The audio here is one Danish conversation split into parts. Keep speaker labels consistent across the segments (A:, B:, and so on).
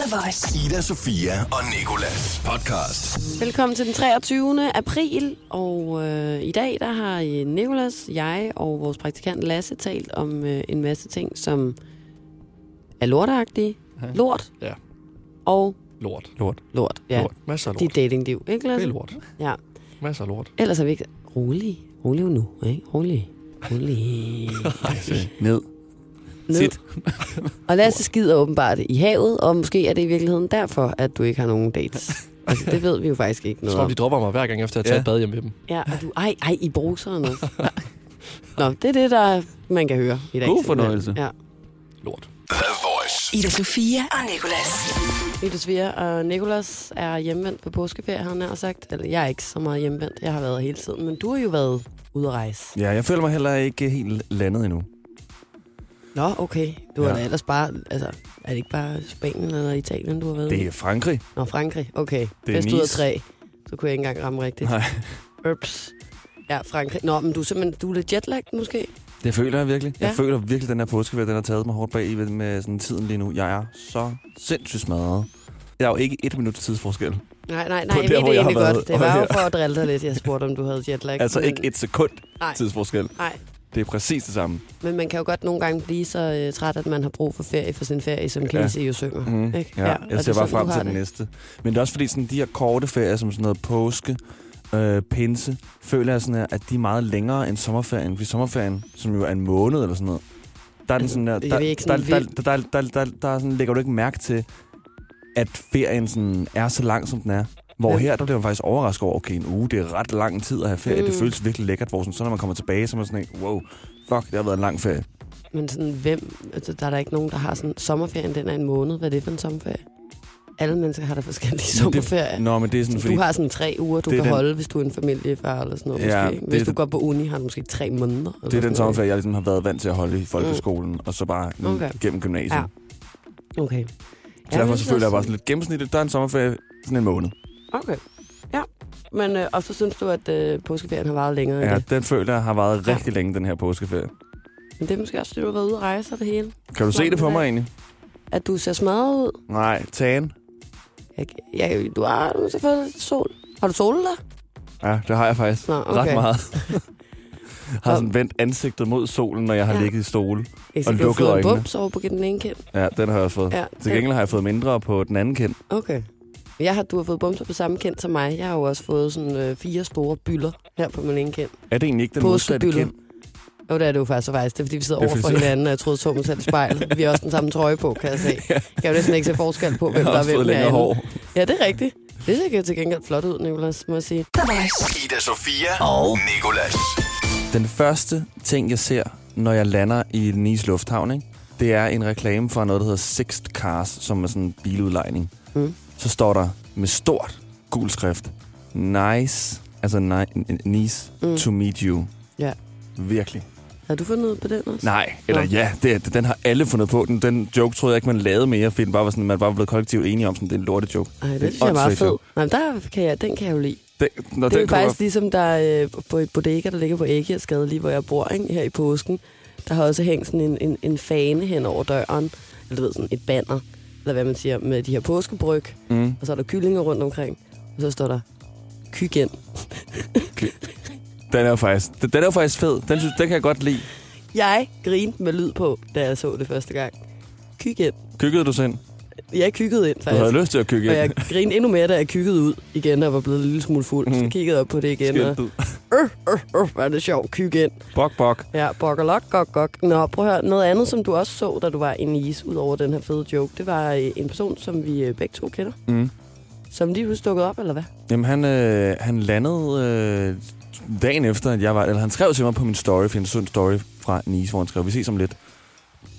A: The Voice.
B: Ida, Sofia og Nikolas podcast.
C: Velkommen til den 23. april, og øh, i dag der har øh, Nicolas, jeg og vores praktikant Lasse talt om øh, en masse ting, som er lortagtige,
D: Ja.
C: lort
D: Ja.
C: og
D: Lort.
C: lort. Ja,
D: Lort. Masser af lort.
C: dit datingliv, ikke
D: Det
C: Lasse?
D: er lort.
C: Ja.
D: Masser af lort.
C: Ellers er vi ikke... Rolig. Rolig nu, ikke? Rolig. Rolig.
E: Ned.
C: Ned.
E: Sit.
C: Og Lasse skider åbenbart i havet, og måske er det i virkeligheden derfor, at du ikke har nogen dates. Altså, det ved vi jo faktisk ikke
D: Jeg
C: noget
D: tror,
C: om.
D: de dropper mig hver gang, efter jeg tager
E: Ja.
D: et bad hjem med dem.
C: Ja, og du, ej, ej, i bruseren også. Nå, det er det, der man kan høre i dag.
E: God
C: simpelthen.
E: fornøjelse.
C: Ja.
D: Lort.
B: The Voice.
A: Ida Sofia og Nicolas.
C: Ida Svia og Nikolas er hjemvendt på påskeferie, han har sagt. Eller jeg er ikke så meget hjemvendt, jeg har været hele tiden. Men du har jo været ude at rejse.
E: Ja, jeg føler mig heller ikke helt landet endnu.
C: Nå, okay. Du har
E: Ja.
C: da ellers bare, altså, er det ikke bare Spanien eller Italien, du har været
E: Det
C: i?
E: er Frankrig.
C: Nå, Frankrig, okay.
E: Det er
C: Bedst ud af
E: Nice.
C: tre. Så kunne jeg ikke engang ramme rigtigt.
E: Nej,
C: Ups. Ja, Frankrig. Nå, men du er simpelthen, du er lidt jetlagt måske?
E: det føler jeg virkelig. Jeg
C: Ja.
E: føler virkelig, den her påskeferie, den har taget mig hårdt bag i med sådan tiden lige nu. Jeg er så sindssygt smadret. Jeg er jo ikke et minut tidsforskel.
C: Nej, nej,
E: På
C: nej, jeg
E: der,
C: ved
E: hvor
C: det
E: jeg har
C: egentlig
E: været.
C: godt. Det
E: Og
C: var jo
E: her.
C: for at drille dig lidt, jeg spurgte, om du havde jetlag.
E: Altså
C: men,
E: ikke et sekund
C: nej,
E: tidsforskel.
C: nej,
E: Det er præcis det samme.
C: men man kan jo godt nogle gange blive så øh, træt, at man har brug for ferie for sin ferie, som Casey jo synger.
E: Mm.
C: Ikke?
E: Ja,
C: Ja,
E: ja,
C: og det er
E: jeg ser
C: sådan,
E: bare
C: du
E: frem
C: har
E: til den
C: det.
E: næste. Men det er også fordi, sådan, de her korte ferier, som sådan noget påske, øh, pinse, føler jeg sådan her, at de er meget længere end sommerferien. For sommerferien, som jo er en måned eller sådan noget, der er den
C: Altså,
E: sådan der,
C: jeg
E: der,
C: ved ikke,
E: der,
C: sådan
E: der,
C: vildt.
E: der, der, der, der, der er sådan, lægger du ikke mærke til, at ferien sådan er så lang, som den er. Hvor
C: Ja.
E: her, der bliver man faktisk overrasket over, okay, en uge, det er ret lang tid at have ferie. Mm.
C: Mm.
E: Det føles virkelig lækkert, hvor sådan, så når man kommer tilbage, så er man sådan, en, wow, fuck, det har været en lang ferie.
C: Men sådan, hvem, altså, der er der ikke nogen, der har sådan, sommerferien den er en måned, hvad er det for en sommerferie? Alle mennesker har da forskellige
E: Men det-
C: sommerferier.
E: Nå, men det er sådan,
C: Så du har sådan tre uger, du
E: det
C: kan
E: er den-
C: holde, hvis du er en familiefar eller sådan noget.
E: Ja,
C: måske.
E: det
C: Hvis
E: er
C: du
E: den-
C: går på uni, har du måske tre måneder. Eller
E: Det er
C: sådan
E: den
C: noget.
E: sommerferie, jeg ligesom har været vant til at holde i folkeskolen, og så bare mm,
C: Okay.
E: gennem gymnasiet.
C: Ja.
E: Ja.
C: Okay.
E: Så derfor
C: men
E: så føler jeg bare
C: sådan-
E: sådan lidt gennemsnitligt, der er en sommerferie sådan en måned.
C: Okay. Ja. Men, øh, og så synes du, at øh, påskeferien har varet længere end
E: Ja,
C: det.
E: den føler jeg har været
C: Ja.
E: rigtig længe, den her påskeferie.
C: Men det er måske også, fordi du har været ude at rejse og det hele.
E: Kan du
C: Nå,
E: se det på
C: nej.
E: mig egentlig?
C: At du ser smadret ud.
E: Nej, tagen.
C: Jeg, jeg, du har du har fået lidt sol. Har du solet dig?
E: Ja, det har jeg faktisk
C: Nå, okay.
E: ret meget. har
C: Og-
E: sådan vendt ansigtet mod solen, når jeg har
C: Ja.
E: ligget i stole.
C: Jeg siger,
E: Og
C: du har
E: lukket
C: fået en
E: øjnene.
C: bums over på den ene kind.
E: Ja, den har jeg også fået.
C: Ja,
E: Til gengæld har jeg fået mindre på den anden kind.
C: Okay. Jeg har, du har fået bumser på samme kind som mig. Jeg har jo også fået sådan øh, fire store byller her på min ene kind.
E: Er det egentlig ikke den modsatte
C: Påskebylle.
E: kind?
C: Jo, det er det jo faktisk, og faktisk. Det er, fordi vi sidder
E: Det er
C: over for
E: fordi-
C: hinanden, og jeg troede, så mig selv i spejlet. Vi har også den samme trøje på, kan jeg se.
E: Ja.
C: Jeg kan jo næsten ikke se forskel på, hvem
E: Jeg
C: der
E: har
C: er
E: også fået
C: hvem
E: længere
C: herinde.
E: hår.
C: Ja, det er rigtigt. Det ser jo til gengæld flot ud, Nicolas, må jeg sige.
A: The Voice.
B: Ida, Sofia og Nikolas.
E: Den første ting, jeg ser, når jeg lander i Nice Lufthavn, ikke? det er en reklame for noget, der hedder Sixth Cars, som er sådan en biludlejning.
C: Mm.
E: Mm. Så står der med stort gul skrift, nice, altså ni- nice
C: Mm.
E: mm. to meet you.
C: Ja.
E: Virkelig.
C: Har du fundet ud på den også?
E: Nej, eller ja, det, er- den har alle fundet på. Den, den joke troede jeg ikke, man lavede mere, fordi den bare var sådan, man var blevet kollektivt enige om, sådan, det er en lortet joke.
C: Ej, det
E: Det er
C: synes jeg er meget
E: åndssvagt,
C: fed.
E: jo.
C: Nej, men der kan jeg, den kan jeg jo lide.
E: Det, når
C: det er
E: den
C: jo
E: kommer,
C: faktisk ligesom der er, øh, på et bodega, der ligger på Ægjersgade, lige hvor jeg bor ikke? her i påsken. Der har også hængt sådan en, en, en fane hen over døren, eller du ved, sådan et banner, eller hvad man siger, med de her påskebryg,
E: mm,
C: og så er der kyllinger rundt omkring, og så står der kygen.
E: den er jo faktisk, den, den er jo faktisk fed. Den, synes, den kan jeg godt lide.
C: Jeg grinede med lyd på, da jeg så det første gang. Kygen.
E: Kykkede du sind?
C: Jeg kykkede ind,
E: Du
C: faktisk.
E: havde lyst til at kykke
C: Og jeg
E: ind.
C: grinede endnu mere, da jeg kykkede ud igen, og var blevet en lille smule fuld. Mm. Så
E: Mm.
C: kiggede jeg op på det igen, og
E: Skiltet.
C: øh, var det sjovt, kygen.
E: Bok, bok.
C: Ja, bokkerlok, gok, gok. Nå, prøv at høre. Noget andet, som du også så, da du var i Nice, ud over den her fede joke, det var øh, en person, som vi øh, begge to kender,
E: Mm.
C: som lige pludselig dukkede op, eller hvad?
E: Jamen, han, øh, han landede øh, dagen efter, at jeg var... Eller han skrev til mig på min story, for jeg så en story fra Nice, hvor han skrev, vi ses om lidt.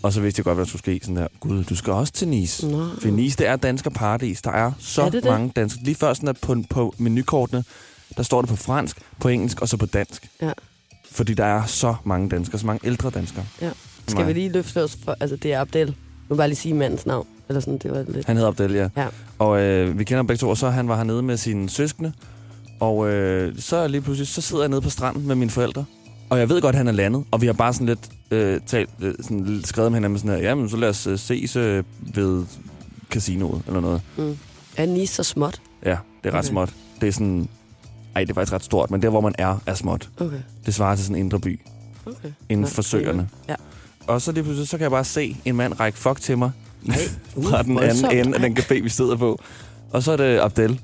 E: Og så vidste jeg godt, hvad der skulle ske. Sådan der, gud, du skal også til Nice.
C: Nå.
E: For Nice, det er dansker paradis. Der er så
C: Er
E: er
C: det det?
E: mange danskere. Lige før sådan der på, på menukortene, der står det på fransk, på engelsk og så på dansk.
C: Ja.
E: Fordi der er så mange danskere, så mange ældre danskere.
C: Ja.
E: Skal
C: Skal vi lige løfte os for... Altså, det er Abdel. Nu vil jeg bare lige sige mandens navn. Eller sådan, det var lidt...
E: Han hedder Abdel, ja.
C: Ja.
E: Og øh, vi kender ham begge to, og så han var hernede med sine søskende. Og øh, så lige pludselig, så sidder jeg nede på stranden med mine forældre. Og jeg ved godt, han er landet, og vi har bare sådan lidt øh, talt, øh, sådan lidt skrevet med hinanden sådan her, jamen så lad os øh, ses øh, ved casinoet eller noget.
C: Mm. Er Nice så småt?
E: Ja, det er ret
C: Okay.
E: småt. Det er sådan... Ej, det er faktisk ret stort, men der, hvor man er, er småt.
C: Okay.
E: Det svarer til sådan en indre by
C: okay.
E: inden
C: Nå,
E: for søerne.
C: Ja.
E: Og så lige pludselig, så kan jeg bare se en mand række fuck til mig
C: Ej,
E: fra den anden
C: voldsomt.
E: ende af den café, vi sidder på. Og så er det Abdel.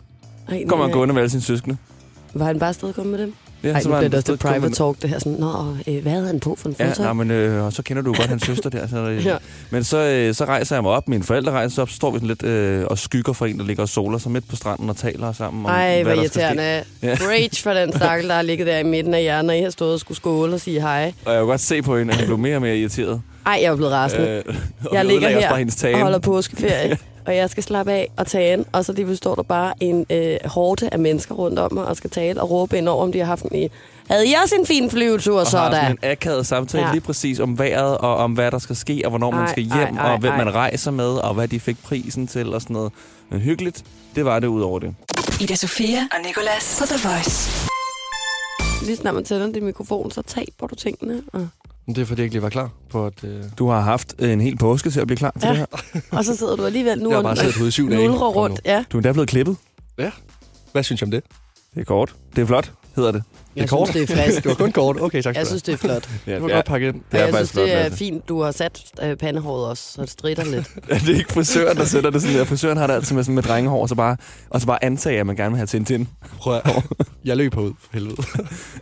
C: Ej,
E: Kommer han
C: nej.
E: gående med alle sine søskende.
C: Var han bare afsted kommet med dem?
E: Ja,
C: Ej, nu
E: var
C: bliver
E: han
C: det også
E: afsted,
C: det
E: kom med-
C: private talk, det her. Sådan, Nå, øh, hvad havde han på for en
E: Ja,
C: fodtøj?
E: nej, men øh, og så kender du jo godt hans søster der. Så, øh,
C: Ja.
E: ja. Men så, øh, så rejser jeg mig op, mine forældre rejser sig op, så står vi sådan lidt øh, og skygger for en, der ligger og soler sig midt på stranden og taler sammen om,
C: Ej, hvor
E: hvad der skal ske.
C: irriterende.
E: Ja.
C: Rage for den stakkel, der har ligget der i midten af jer, når I har stået og skulle skåle og sige hej.
E: Og jeg kunne godt se på hende, at hun blev mere og mere irriteret.
C: Ej, jeg er blevet rasende. Øh,
E: og
C: jeg
E: vi
C: ligger
E: ødelagde også
C: her
E: bare hendes tale.
C: og holder påskeferie, og jeg skal slappe af og tage ind, og så lige pludselig står der bare en øh, hårde af mennesker rundt om mig og skal tale og råbe ind over, om de har haft en... i- Havde jeg også en fin flyvetur,
E: og
C: så
E: har sådan
C: der?
E: en akavet samtale
C: Ja.
E: ja. lige præcis om vejret, og om hvad der skal ske, og hvornår
C: Ej,
E: man skal
C: ej,
E: hjem,
C: ej,
E: og hvem
C: ej.
E: man rejser med, og hvad de fik prisen til, og sådan noget. Men hyggeligt, det var det ud over det.
A: Ida Sofia og Nicolas på The Voice.
C: Lige snart man tænder din mikrofon, så taber du tingene. Og,
D: Men det er fordi, jeg ikke lige var klar på, at øh,
E: Du har haft øh, en hel påske til at blive klar til
C: Ja.
E: ja. det her.
C: og så sidder du alligevel nu
D: jeg har
C: og
D: bare siddet ude i syv dage.
C: nulrer
D: Kom nu.
C: rundt. Ja.
E: Du er endda blevet klippet.
D: Hvad synes jeg om det?
E: Det er kort. Det er flot, hedder det.
D: Jeg synes, kort.
C: det er frisk.
D: det var kun kort. Okay, tak skal
C: Jeg
D: du
C: synes, det er flot.
D: have. Det var
E: ja.
D: godt pakket ind.
E: Det
C: Det
E: er
C: jeg synes,
E: faktisk flot,
C: det er
E: Lasse.
C: fint, du har sat øh, pandehåret også, så det strider lidt.
E: det er ikke frisøren, der sætter det sådan der. Frisøren har det altid med, sådan med drengehår, og så bare, og så bare antage, at man gerne vil have Tintin.
D: Prøv at, jeg løb herud, for helvede.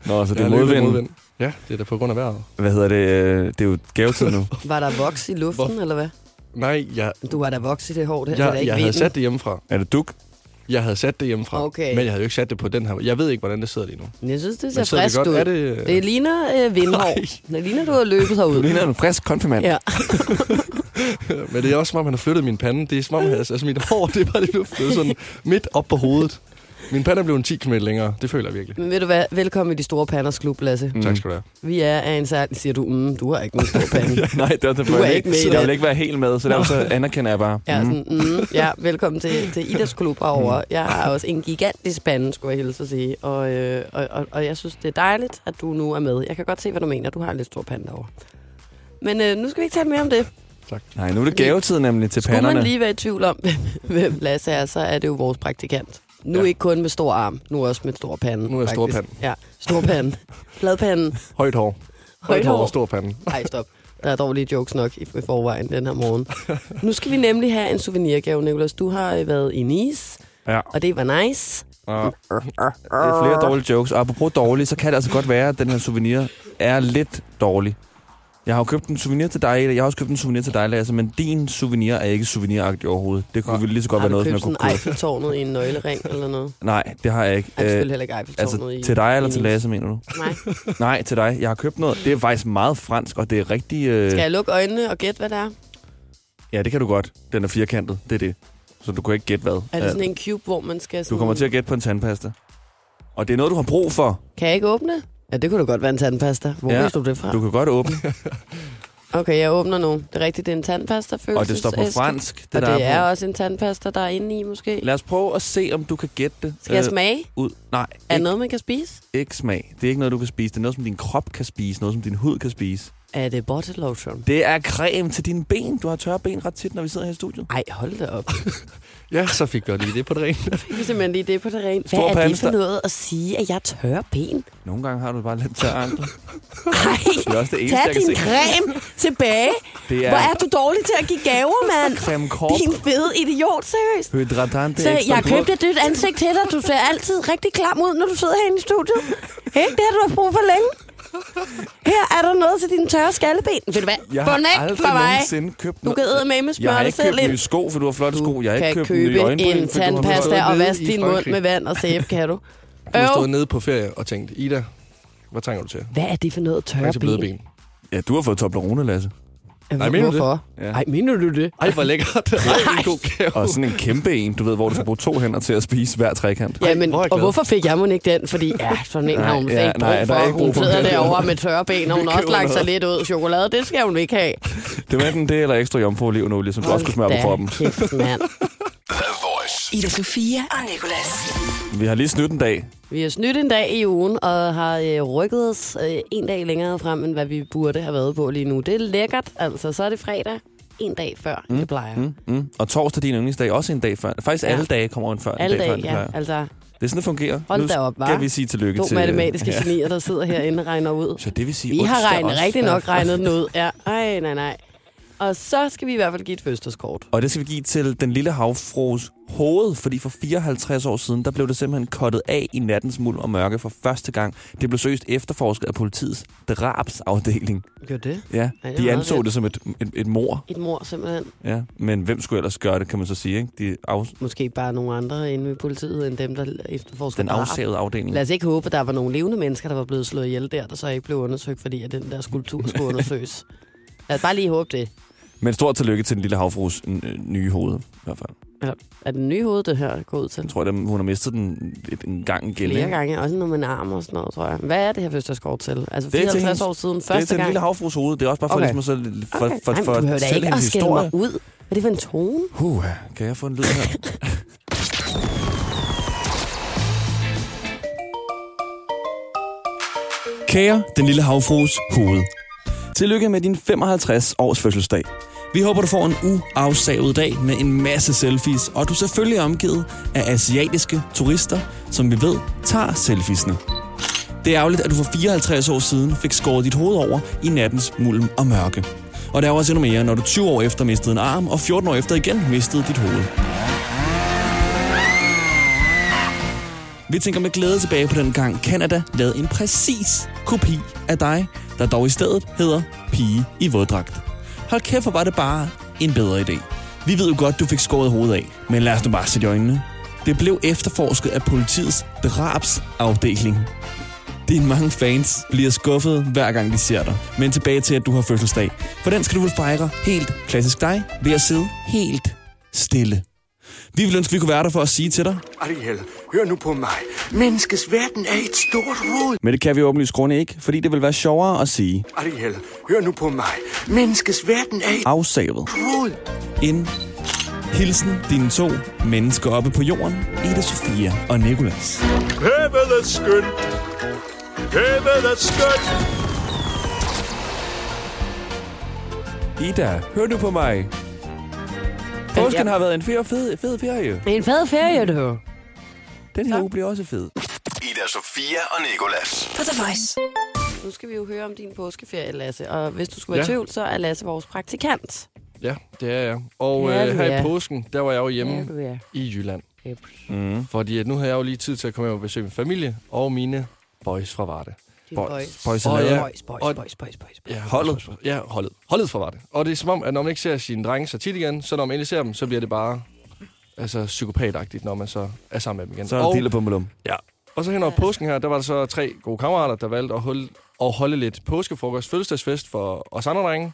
E: Nå, så det er
D: Jeg løb i
E: modvind.
D: Ja, det er da på grund af vejret.
E: Hvad hedder det? øh, Det er jo gavetid nu.
C: Var der voks i luften, eller hvad?
D: Nej, jeg,
C: Du har da voks i det hår, det her, så det er
D: jeg,
C: ikke
D: jeg havde
C: vinden.
D: sat det hjemmefra.
E: Er det duk?
D: Jeg havde sat det hjemmefra.
C: Okay.
D: Men jeg havde jo ikke sat det på den her. Jeg ved ikke, hvordan det sidder lige nu. Men
C: Men Jeg synes, det ser
D: sidder
C: frisk
D: det godt?
C: ud.
D: Er
C: Det,
D: det...
C: det ligner øh, vindhår. Det ligner, du har løbet
E: Du
C: herud.
E: ligner en frisk konfirmand.
C: Ja.
D: Men det er også som om, han har flyttet min pande. Det er som om, han- altså, mit hår, det er bare lige blevet flyttet sådan midt op på hovedet. Min pande er blevet 10 km længere. Det føler jeg virkelig.
C: Men ved du hvad? Velkommen i de store panders klub, Lasse.
D: Mm. Tak skal du have.
C: Vi er af en særlig, siger du, mm, du har ikke nogen stor pande.
E: Nej, det var det,
C: Du er
E: jeg,
C: ikke med i
E: jeg
C: det.
E: vil ikke være helt med, så derfor så anerkender jeg bare.
C: Ja,
E: Mhm.
C: sådan, mm, ja, velkommen til, til Idas klub herovre. Jeg har også en gigantisk pande, skulle jeg hilse at sige. Og, øh, og, og, og jeg synes, det er dejligt, at du nu er med. Jeg kan godt se, hvad du mener. Du har en lidt stor pande derovre. Men øh, nu skal vi ikke tale mere om det.
E: Nej, nu er det gavetid nemlig til
C: Skulle
E: panderne.
C: man lige være i tvivl om, hvem Lasse er, så er det jo vores praktikant. Nu ja.
D: Ja.
C: ikke kun med stor arm, nu også med stor pande.
D: Nu er jeg
C: faktisk.
D: storpanden.
C: Ja, storpanden. Fladpanden.
D: Højt hår.
C: Højt
D: hår
C: hår.
D: og stor pande.
C: Nej, stop. Der er dårlige jokes nok i i forvejen den her morgen. Nu skal vi nemlig have en souvenirgave, Nicolas. Du har øh, været i Nice,
E: Ja.
C: og det var nice.
E: Og det er flere dårlige jokes. Og apropos dårlige, så kan det altså godt være, at den her souvenir er lidt dårlig. Jeg har jo købt en souvenir til dig, Ida. jeg har også købt en souvenir til dig, Lasse, men din souvenir er ikke souveniragtig overhovedet. Det kunne
D: Nej.
E: vel lige så godt
C: har
E: være
C: du
E: noget, som
C: købt
E: jeg kunne
C: sådan
E: købe.
C: Eiffeltårnet i en nøglering eller noget?
E: Nej, det har jeg ikke.
C: Ej, selvfølgelig
E: Øh,
C: heller ikke Eiffeltårnet
E: altså,
C: i
E: til dig eller
C: i
E: til
C: Nice.
E: Lasse, mener du?
C: Nej.
E: Nej, til dig. Jeg har købt noget. Det er faktisk meget fransk, og det er rigtig... Øh...
C: Skal jeg lukke øjnene og gætte, hvad det er?
E: Ja, det kan du godt. Den er firkantet. Det er det. Så du kan ikke gætte hvad.
C: Er det
E: Ja.
C: sådan en cube, hvor man skal... Sådan...
E: Du kommer til at gætte på en tandpasta. Og det er noget, du har brug for.
C: Kan jeg ikke åbne? Ja, det kunne da godt være en tandpasta. Hvor ja.
E: Ja.
C: vidste du det fra?
E: Du kan godt åbne,
C: Okay, jeg åbner nu. Det er rigtigt, det er en tandpasta
E: og det står på fransk.
C: Det og
E: der
C: det er,
E: på.
C: også en tandpasta, der er inde i måske.
E: Lad os prøve at se, om du kan gætte det.
C: Skal jeg
E: øh,
C: smage?
E: Ud. Nej,
C: Er det
E: ikke,
C: noget, man kan spise?
E: ikke smag. Det er ikke noget, du kan spise. Det er noget, som din krop kan spise. Noget, som din hud kan spise.
C: Er det bottle lotion?
E: Det er creme til dine ben. Du har tørre ben ret tit, når vi sidder her i studiet.
C: Ej, hold da op.
D: Ja, så fik jeg lige det på det rene.
C: Vi kan simpelthen lige det på det rene. Hvad
E: Stor
C: er det for
E: pandesta.
C: noget at sige, at jeg tør ben?
E: Nogle gange har du bare lidt tørre ankler.
C: Ej,
E: Det er også det eneste,
C: tag
E: jeg kan
C: din
E: se.
C: creme tilbage.
E: Det er-
C: Hvor er du dårlig til at give gaver, mand?
E: Creme Corp.
C: Din fede idiot, seriøst.
E: Hydratante
C: Så
E: ekstra
C: jeg
E: pur.
C: købte et nyt ansigt til dig. Du ser altid rigtig klam ud, når du sidder herinde i studiet. Ikke det, har du har brug for længe. Her er der noget til dine tørre skalleben. Ved du hvad?
E: Jeg har
C: Bonnet for
E: aldrig
C: mig.
E: nogensinde købt
C: Du kan
E: noget-
C: eddermame
E: Jeg
C: smøre
E: har
C: dig
E: ikke købt
C: selv
E: nye
C: ind.
E: sko, for du har flotte sko. Jeg har
C: kan
E: ikke købt nye
C: købe
E: øjenbryn,
C: en
E: for du har flotte
C: tandpasta og
D: nede
C: vaske
D: i
C: din mund
D: Frankrig.
C: med vand og sæbe, kan du?
D: Du
C: Øv.
D: stod nede på ferie og tænkte, Ida, hvad trænger du til?
C: Hvad er det for noget
D: Jeg
C: tørre
D: til bløde
C: ben?
D: ben.
E: Ja, du har fået Toblerone, Lasse.
D: Nej, mener du det?
C: Hvorfor?
E: Ja.
C: Ej, mener du det?
D: Ej, hvor lækkert. Ej, en god gave.
E: Og sådan en kæmpe en, du ved, hvor du skal bruge to hænder til at spise hver trekant.
C: Ja, men,
D: hvor er jeg
C: og
D: glad.
C: hvorfor fik jeg mon ikke den? Fordi, ja, sådan en har hun
E: Nej,
C: slet
E: ja,
C: ikke brug
E: nej, der er
C: for.
E: ikke
C: Hun
E: brug for
C: sidder
E: det.
C: derovre med tørre ben, og hun
E: Vi
C: har også
E: køber
C: lagt sig
E: noget.
C: lidt ud. Chokolade, det skal hun ikke have.
E: Det var enten det eller ekstra jomfruolivenolie, som du også skulle smøre på
C: Hold da
E: kroppen.
C: kæft, mand.
B: The Voice.
A: Ida Sofia og Nicolas.
E: Vi har lige snydt en dag.
C: Vi har snydt en dag i ugen, og har øh, rykket os øh, en dag længere frem, end hvad vi burde have været på lige nu. Det er lækkert, altså. Så er det fredag. en dag før, mm. det plejer. Mm.
E: Mm, mm. Og torsdag, din yndlingsdag, også en dag før. Faktisk
C: Ja.
E: alle dage kommer en, før, en
C: Alle
E: dag, før,
C: dage,
E: end det
C: ja.
E: plejer.
C: Altså,
E: Det er sådan, det fungerer.
C: Hold
E: nu
C: da op, hva'?
E: skal vi sige tillykke
C: to
E: til...
C: matematiske
E: Ja.
C: genier, der sidder herinde og regner ud.
E: Så det vil sige
C: Vi har
E: onsdag
C: regnet
E: også.
C: rigtig nok regnet den ud. Ja. Ej, nej, nej. Og så skal vi i hvert fald give et fødselskort.
E: Og det skal vi give til den lille havfros hoved, fordi for 54 år siden, der blev det simpelthen kottet af i nattens muld og mørke for første gang. Det blev søst efterforsket af politiets drabsafdeling.
C: Gør det?
E: Ja,
C: Ej, det er
E: de
C: meget
E: anså
C: vildt.
E: det som et, et, et mor.
C: Et mor simpelthen.
E: Ja. Men hvem skulle ellers gøre det, kan man så sige. Ikke? De af,
C: Måske bare nogle andre inde ved politiet, end dem, der efterforsker
E: den
C: drab.
E: afsavede afdeling.
C: Lad os ikke håbe, at der var nogle levende mennesker, der var blevet slået ihjel der, der så ikke blev undersøgt, fordi at den der skulptur skulle undersøges. Lad os bare lige håbe det.
E: Men stort tillykke til den lille havfrues øh, nye hoved, i hvert fald.
C: Er den nye hoved, det her går ud til?
E: Jeg tror, at hun har mistet den et- en gang igen.
C: Flere
E: ikke?
C: gange, også noget med en arm og sådan noget, tror jeg. Hvad er det her fødselskort til? Altså
E: Det er til
C: 54
E: hendes-
C: år siden,
E: det er
C: første
E: til den
C: gang.
E: lille havfrues hoved. Det er også bare for,
C: Okay.
E: okay. ligesom, at så, for,
C: Okay.
E: for,
C: Ej, men
E: for,
C: du behøver
E: at
C: da
E: fortælle
C: ikke
E: en
C: at skælde
E: historie.
C: mig ud. Hvad er det for en tone?
E: Huh, kan jeg få en lyd her? Kære den lille havfrues hoved. Tillykke med din 55 års fødselsdag. Vi håber, du får en uafsavet dag med en masse selfies, og du er selvfølgelig omgivet af asiatiske turister, som vi ved tager selfiesne. Det er ærgerligt, at du for 54 år siden fik skåret dit hoved over i nattens mulm og mørke. Og der er jo også endnu mere, når du 20 år efter mistede en arm, og 14 år efter igen mistede dit hoved. Vi tænker med glæde tilbage på den gang Canada lavede en præcis kopi af dig, der dog i stedet hedder Pige i våddragt. Hold kæft, hvor var det bare en bedre idé. Vi ved jo godt, du fik skåret hovedet af, men lad os nu bare sætte i øjnene. Det blev efterforsket af politiets drabsafdeling. Dine mange fans bliver skuffet, hver gang de ser dig. Men tilbage til, at du har fødselsdag. For den skal du vel fejre helt klassisk dig ved at sidde helt stille. Vi vil ønske, at vi kunne være der for at sige til dig.
F: Ariel, hør nu på mig. Menneskets verden er et stort rod.
E: Men det kan vi åbenlyst grunde ikke, fordi det vil være sjovere at sige
F: Ariel, hør nu på mig. Menneskets verden er et
E: afsavet.
F: rod.
E: Ind. Hilsen dine to mennesker oppe på jorden, Ida Sofia og Nikolas.
B: Havet er skønt. Havet er skønt.
E: Ida, hør du på mig?
C: Påsken har
E: været en fed, fed, fed ferie.
C: Det er en fed ferie, det her.
E: Den her uge bliver også fed.
B: Ida Sofia og Nikolas.
A: På The Voice.
C: Nu skal vi jo høre om din påskeferie, Lasse. Og hvis du skulle være i
D: Ja.
C: tvivl, så er Lasse vores praktikant.
D: Ja, det er jeg. Og
C: Ja,
D: ja,
C: du
D: øh, her
C: er.
D: i påsken, der var jeg jo hjemme
C: du er.
D: i Jylland.
E: Mm.
D: Fordi at nu havde jeg jo lige tid til at komme hjem og besøge min familie og mine boys fra Varde.
C: Boys,
E: Boys,
D: Og
E: ja.
D: ja.
C: boys, boys,
D: Og-
C: boys, boys, boys.
D: Ja, holdet. Ja, holdet. Holdet fra Varde. Og det er som om, at når man ikke ser sine drenge så tit igen, så når man endelig ser dem, så bliver det bare altså, psykopatagtigt, når man så er sammen med dem igen.
E: Så er der
D: og,
E: dealer på malum.
D: ja. og så hen over påsken her, der var der så tre gode kammerater, der valgte at holde, at holde lidt påskefrokost, fødselsdagsfest for os andre drenge.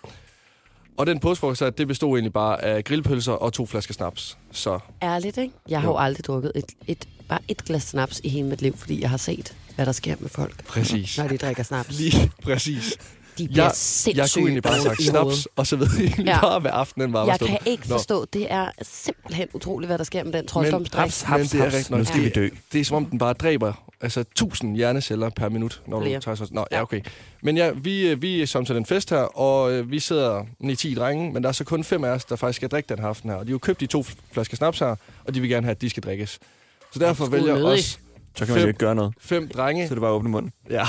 D: Og den påskefrokost her, det bestod egentlig bare af grillpølser og to flasker snaps. Så
C: Ærligt, ikke? Jeg har jo aldrig drukket et, et, bare et glas snaps i hele mit liv, fordi jeg har set, hvad der sker med folk,
D: præcis.
C: når de drikker snaps.
D: Lige præcis.
C: De bliver
D: Jeg,
C: sindssyge.
D: jeg kunne egentlig bare
C: i
D: sagt
C: hovedet.
D: snaps, og så ved jeg egentlig
C: Ja.
D: ja. bare, hvad aftenen var. der
C: Jeg
D: stod.
C: kan ikke
D: Nå.
C: forstå, det er simpelthen utroligt, hvad der sker med den trolddomsdrik.
E: Haps,
D: Men
E: haps,
D: det er
E: haps.
D: rigtigt nok.
E: Nu skal vi dø.
D: Det er som om, den bare dræber altså, 1000 hjerneceller per minut, når du
C: Flere.
D: tager sådan... Nå, ja, okay. Men ja, vi, øh, vi er som til den fest her, og øh, vi sidder 9-10 drenge, men der er så kun fem af os, der faktisk skal drikke den her aften her. Og de har jo købt de to flasker snaps her, og de vil gerne have, at de skal drikkes. Så derfor
C: Sgu
D: vælger
C: nødig.
D: os
E: Så kan man jo
D: Fem.
E: ikke gøre noget.
D: fem drenge...
E: Så er det bare åbne munden.
D: Ja.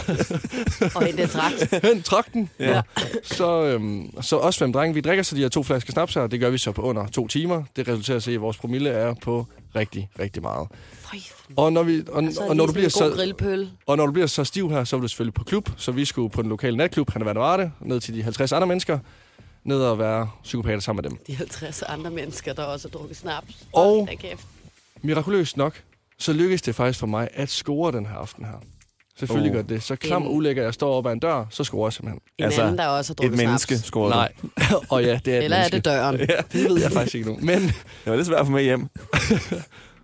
C: Og en trakt.
D: Høn, trak den.
E: Ja.
D: Ja. Så, øhm, så os fem drenge, vi drikker så de her to flasker snaps her. Det gør vi så på under to timer. Det resulterer sig i, at vores promille er på rigtig, rigtig meget. Og når, vi, og, og, og når du bliver
C: så... er det Altså, lige sådan en god
D: så,
C: grillpøl.
D: og når du bliver så stiv her, så vil du selvfølgelig på klub. Så vi skulle på den lokale natklub, han Varde, ned til de 50 andre mennesker. Ned og være psykopater sammen med dem.
C: De 50 andre mennesker, der også har drukket snaps.
D: Og-
C: Hold da kæft.
D: Mirakuløst nok, så lykkedes det faktisk for mig at score den her aften her. Selvfølgelig
E: Oh.
D: oh. gør det det. Så klam
C: En-
D: og ulækker, jeg står op ad en dør, så scorer jeg simpelthen.
C: En
E: Altså,
C: altså, anden, der også har
E: Et
C: drukket
E: menneske
C: snaps.
E: scorede.
D: Nej. og ja, det er et
C: Eller er
D: menneske.
C: det døren?
E: Ja,
D: Det ved jeg faktisk ikke nu. Men
E: det var lidt svært at få med hjem.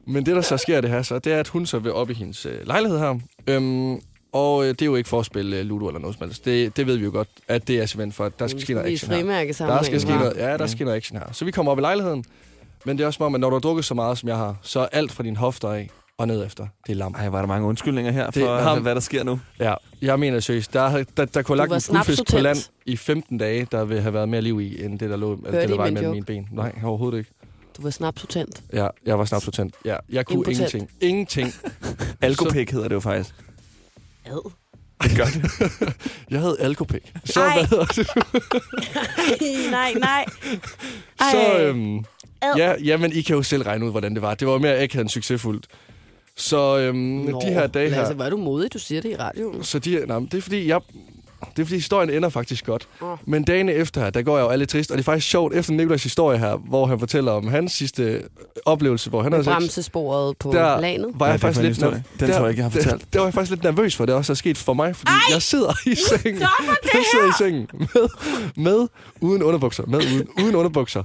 D: Men det, der så sker det her, så, det er, at hun så vil op i hendes øh, lejlighed her. Øhm, og øh, det er jo ikke for at spille øh, Ludo eller noget som helst. Det, det ved vi jo godt, at det er simpelthen for, at der skal ske noget
C: Vi er
D: action her.
C: frimærke sammen.
D: Der skal ske noget, ja, der skal noget action her. Så vi kommer op i lejligheden. Men det er også som om, at når du har drukket så meget, som jeg har, så er alt fra din hofter af og ned efter. Det er lam.
E: Ej, var der mange undskyldninger her
D: Det er
E: for,
D: ham.
E: hvad der sker nu.
D: Ja, jeg mener seriøst. Der, havde- der, der kunne
C: Du
D: have
C: var
D: lagt en guldfisk på
C: snapsutent.
D: land i 15 dage, der ville have været mere liv i, end det, der lå altså,
C: Hørte
D: det,
C: I
D: der var
C: min
D: imellem
C: joke?
D: mine ben. Nej, overhovedet ikke.
C: Du var snapsutent.
D: Ja, jeg var snapsutent. Ja, jeg kunne
C: Impotent.
D: ingenting. Ingenting.
E: Alkopik hedder det jo faktisk.
C: Ad.
E: Det gør det.
D: Jeg havde alkopik. Så,
C: Ej.
D: hvad hedder det?
C: nej, nej.
D: Så,
C: Ej.
D: øhm,
C: Ad.
D: ja, jamen, I kan jo selv regne ud, hvordan det var. Det var jo mere akavet end succesfuldt. Så øhm, de her dage her... Altså,
C: Lasse, hvor er du modig, du siger det i radioen.
D: Så de, nej, men det er fordi, jeg, det er fordi, historien ender faktisk godt. Men dagene efter her, der går jeg jo alle trist. Og det er faktisk sjovt, efter Nikolajs historie her, hvor han fortæller om hans sidste oplevelse, hvor han havde sex.
C: Bremsesporet på
D: Der
C: landet.
D: var
E: Ja,
D: jeg
E: det er
D: faktisk
E: for en
D: lidt
E: historie.
D: nerv-
E: Den
D: der,
E: tror jeg ikke, jeg har
D: Der,
E: fortalt.
D: der var jeg faktisk lidt nervøs for, at det også er sket for mig, fordi Ej! jeg sidder i sengen. Jeg sidder i sengen med, med uden underbukser, med uden, uden underbukser.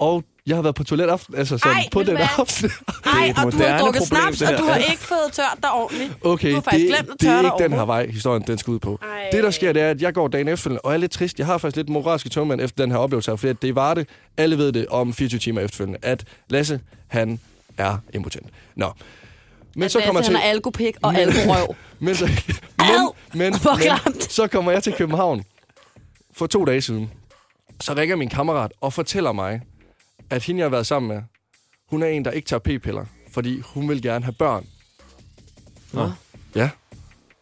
D: Og jeg har været på toilet aften, altså sådan,
G: Ej,
D: på
G: ved du
D: den
G: hvad?
D: aften.
G: Ej,
E: et
G: og du har
E: moderne
G: drukket
E: problem,
G: snaps,
E: det
G: og
E: her.
G: du har ikke fået tørt dig ordentligt.
D: Okay,
G: du har
D: det,
G: faktisk glemt at
D: det
G: tørre
D: er
G: dig
D: ikke den her
G: overhovedet.
D: vej, historien den skal ud på.
G: Ej.
D: Det, der sker, det er, at jeg går dagen efter, og jeg er lidt trist. Jeg har faktisk lidt moralske tømmermænd efter den her oplevelse, her, fordi at det var det. Alle ved det om 24 timer efterfølgende, at Lasse, han er impotent. Nå. Men
C: Men øh, så kommer Lasse,
D: til...
C: han har alkopik og alkorøv.
D: Men, så, men,
C: Au!
D: men,
C: Hvor
D: men
C: klamt.
D: så kommer jeg til København for to dage siden. Så ringer min kammerat og fortæller mig, at hende, jeg har været sammen med, hun er en, der ikke tager p-piller, fordi hun vil gerne have børn.
C: Nå.
D: Ja.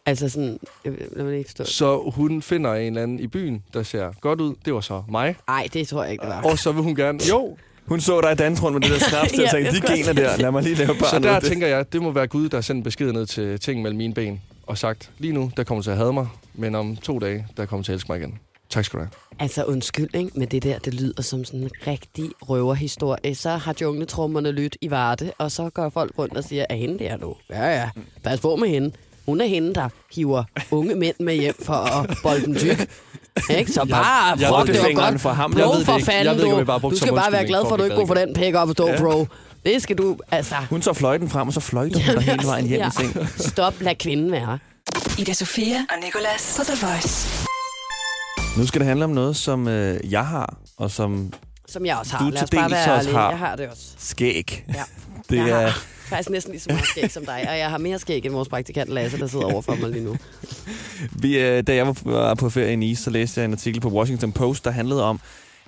C: altså sådan, jeg, jeg, jeg vil ikke forstå.
D: Så hun finder en eller anden i byen, der ser godt ud. Det var så mig.
C: Nej, det tror jeg ikke, det var.
D: Og så vil hun gerne... Jo,
E: Hun så dig danse rundt med det der snaps, og
C: Ja,
E: tænkte,
C: jeg
E: de
C: skulle
E: gener der, lad mig lige lave barnet.
D: så der
E: ud. Det-
D: tænker jeg, det må være Gud, der har sendt besked ned til ting mellem mine ben og sagt, lige nu, der kommer til at hade mig, men om to dage, der kommer til at elske mig igen. Tak skal du have.
C: Altså undskyld, ikke? men det der, det lyder som sådan en rigtig røverhistorie. Så har jungletrummerne lyttet i Varde, og så går folk rundt og siger, at hende der nu. Ja, ja, pas på med hende. Hun er hende, der hiver unge mænd med hjem for at bolde dem tyk. Ikke? Så bare
E: jeg
C: prøv,
E: ved
C: det
E: det
C: var
E: fingeren
C: godt.
E: fra ham.
C: Bro,
E: Jeg ved det
C: for
E: ikke.
D: Jeg
C: fanden,
D: ved ikke, om
C: du.
D: jeg bare brugte
C: du
D: som
C: skal bare være
D: undskyldning
C: glad
D: for,
C: for, at du
D: at vi
C: ikke går for
D: gad
C: den pæk op at stå, bro. Det skal du, altså...
E: Hun tager fløjten frem, og så fløjter hun dig hele vejen hjem i seng.
C: Stop, lad kvinden være.
A: Ida Sofia og Nicolas på The Voice.
E: Nu skal det handle om noget, som øh, jeg har, og som
C: Som jeg også har.
E: Du
C: Lad os
E: til
C: bare
E: dels
C: være
E: også
C: ærlige.
E: har.
C: Jeg har det også.
E: skæg.
C: Ja.
E: Det
C: jeg
E: er,
C: har faktisk næsten lige så meget skæg som dig, og jeg har mere skæg end vores praktikant Lasse, der sidder overfor mig lige nu.
E: vi, øh, da jeg var- var på ferie i Nice, så læste jeg en artikel på Washington Post, der handlede om,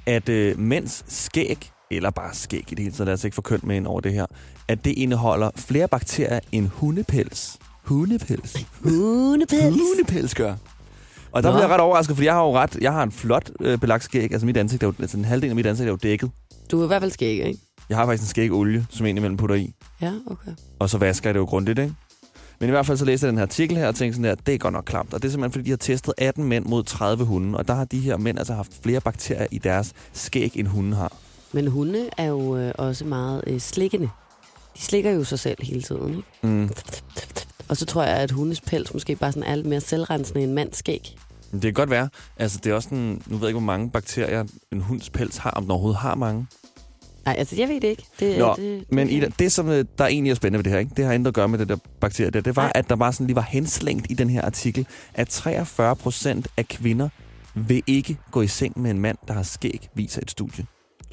E: at øh, mænds skæg, eller bare skæg i det hele taget, lad os ikke få kønt med ind over det her, at det indeholder flere bakterier end hundepels. Hundepels.
C: Hunepels.
E: Hunepels gør. Og der
C: Nå.
E: blev jeg ret overrasket, fordi jeg har jo ret, jeg har en flot øh, belagt skæg, altså mit ansigt er jo, altså en halvdel af mit ansigt er jo dækket.
C: Du er i hvert fald skæg, ikke?
E: Jeg har faktisk en skægolie, som jeg indimellem putter i.
C: Ja, okay.
E: Og så vasker jeg det jo grundigt, ikke? Men i hvert fald så læste jeg den her artikel her og tænkte sådan der, det er godt nok klamt. Og det er simpelthen, fordi de har testet 18 mænd mod 30 hunde. Og der har de her mænd altså haft flere bakterier i deres skæg, end hunden har.
C: Men hunde er jo øh, også meget øh, slikkende. De slikker jo sig selv hele tiden, ikke?
E: Mm.
C: Og så tror jeg, at hundes pels måske bare sådan er lidt mere selvrensende end mands skæg.
E: Det kan godt være. Altså, det er også sådan, nu ved jeg ikke, hvor mange bakterier en hunds pels har, om den overhovedet har mange.
C: Nej, altså jeg ved det ikke. Det,
E: Nå,
C: det, det,
E: Men Ida, det, som øh, der egentlig er spændende ved det her, ikke? det har intet at gøre med det der bakterie der, det var,
C: Nej.
E: at der bare sådan lige var henslængt i den her artikel, at 43 procent af kvinder vil ikke gå i seng med en mand, der har skæg, viser et studie.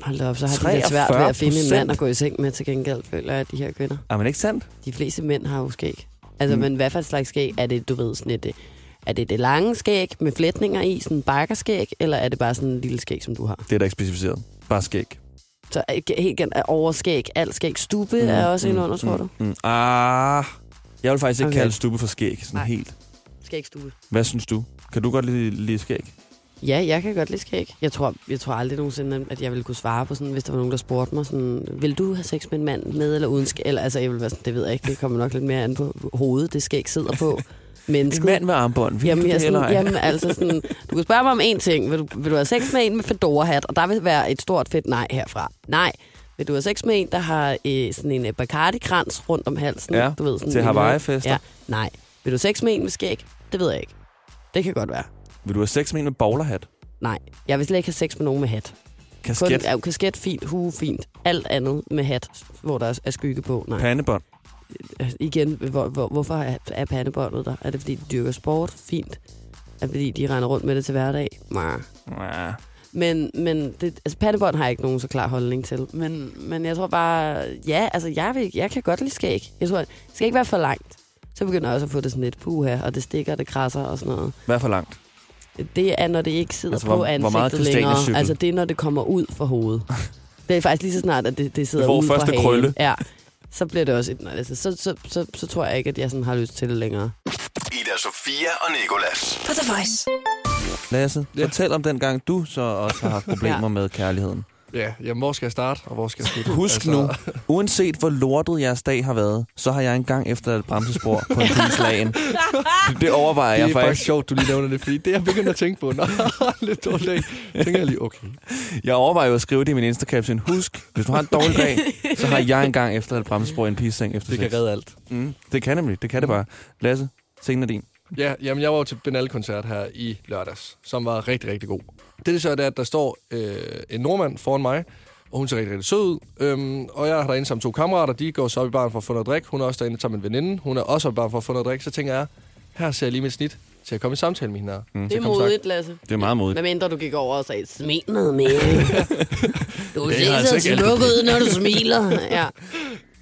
C: Hold da op, så har de lidt svært ved at finde en
E: 43%.
C: mand at gå i seng med til gengæld, føler jeg, de her kvinder.
E: Er man ikke sandt?
C: De fleste mænd har jo skæg. Altså,
E: Mm.
C: mm. men hvad for et slags skæg? Er det, du ved, sådan et, øh, er det det lange skæg med flætninger i, sådan en bakkerskæg, eller er det bare sådan en lille skæg, som du har?
E: Det er der ikke specificeret. Bare skæg.
C: Så øh, ge- helt gen- er overskæg, alt skæg, stube mm. er også mm. ind under, tror du?
E: Mm. Ah, jeg vil faktisk ikke okay.
C: Okay.
E: kalde stube for skæg, sådan
C: Nej.
E: helt.
C: Skægstube.
E: Hvad synes du? Kan du godt lide, lide skæg?
C: Ja, jeg kan godt lide skæg. Jeg tror, jeg tror aldrig nogensinde, at jeg ville kunne svare på sådan, hvis der var nogen, der spurgte mig sådan, vil du have sex med en mand med eller uden skæg? Eller, altså, jeg vil være sådan, det ved jeg ikke, det kommer nok lidt mere an på hovedet, det skæg sidder på.
E: En
C: Mennesket.
E: mand med armbånd. Vil
C: Jamen,
E: du
C: jeg er
E: det, eller
C: sådan,
E: ej?
C: jamen altså sådan, du kan spørge mig om én ting. Vil du, vil du have sex med en med fedora-hat? Og der vil være et stort fedt nej herfra. Nej. Vil du have sex med en, der har øh, sådan en øh, Bacardi-krans rundt om halsen?
E: Ja,
C: du ved, sådan
E: til
C: en lille-
E: Hawaii-fester.
C: Ja, nej. Vil du have sex med en med skæg? Det ved jeg ikke. Det kan godt være.
E: Vil du have sex med en med bowlerhat?
C: Nej, jeg vil slet ikke have sex med nogen med hat. Kun,
E: Kasket?
C: ja, kasket fint, hue fint. Alt andet med hat, hvor der er skygge på. Nej.
E: Pandebånd?
C: Altså, igen, hvor, hvor, hvorfor er, er pandebåndet der? Er det fordi, de dyrker sport? Fint. Er det fordi, de render rundt med det til hverdag? Nej.
E: Ja.
C: Men, men det, altså, pattebånd har jeg ikke nogen så klar holdning til. Men, men jeg tror bare, ja, altså jeg, vil, jeg kan godt lide skæg. Jeg tror, det skal ikke være for langt. Så begynder jeg også at få det sådan lidt puha, og det stikker, det krasser og sådan noget.
E: Hvad er for langt?
C: Det er, når det ikke sidder
E: Altså,
C: altså,
E: hvor-
C: på
E: hvor
C: ansigtet
E: meget Christiane
C: længere.
E: cykel?
C: Altså det er, når det kommer ud fra hovedet. Det er faktisk lige så snart, at det, det sidder
E: Hvor
C: ud fra
E: første
C: hagen.
E: krølle.
C: Ja, så bliver det også et... Altså, så, så, så, så, tror jeg ikke, at jeg sådan har lyst til det længere.
H: Ida Sofia og Nikolas.
A: På The Voice.
E: Lasse,
D: Ja.
E: ja. fortæl om den gang, du så også har haft problemer
C: Ja.
E: ja. med kærligheden.
D: Ja, jamen, hvor skal jeg starte, og hvor skal jeg slutte?
E: Husk altså... nu, uanset hvor lortet jeres dag har været, så har jeg engang efter et bremsespor på en pinslagen. Det overvejer
D: Det er
E: jeg
D: faktisk
E: faktisk.
D: sjovt, du lige nævner det, fordi det er jeg begyndt at tænke på. Nå, lidt dårlig dag. Tænker jeg lige, okay.
E: Jeg overvejer jo at skrive det i min Insta-caption. Husk, hvis du har en dårlig dag, så har jeg engang efter et bremsespor i en pisseng efter
D: Det kan
E: sex.
D: redde alt.
E: Mm, det kan nemlig, det kan det bare. Lasse, scenen er din.
D: Ja, jamen, jeg var jo til Benal-koncert her i lørdags, som var rigtig, rigtig god. Det, det så er, det er, at der står øh, en nordmand foran mig, og hun ser rigtig, rigtig sød ud. Øhm, og jeg har derinde sammen med to kammerater, de går så op i baren for at få noget drik. Hun er også derinde sammen med en veninde, hun er også oppe i baren for at få noget drik. Så tænker jeg, her ser jeg lige mit snit til at komme i samtale med hende her. Mm.
C: Det er modigt, Lasse.
E: Det er meget modigt.
C: Hvad mindre du gik over og sagde, smil noget mere. Du
D: Det er
C: ser
D: altså
C: så
D: ikke alle
C: smuk ud, når du smiler. Ja,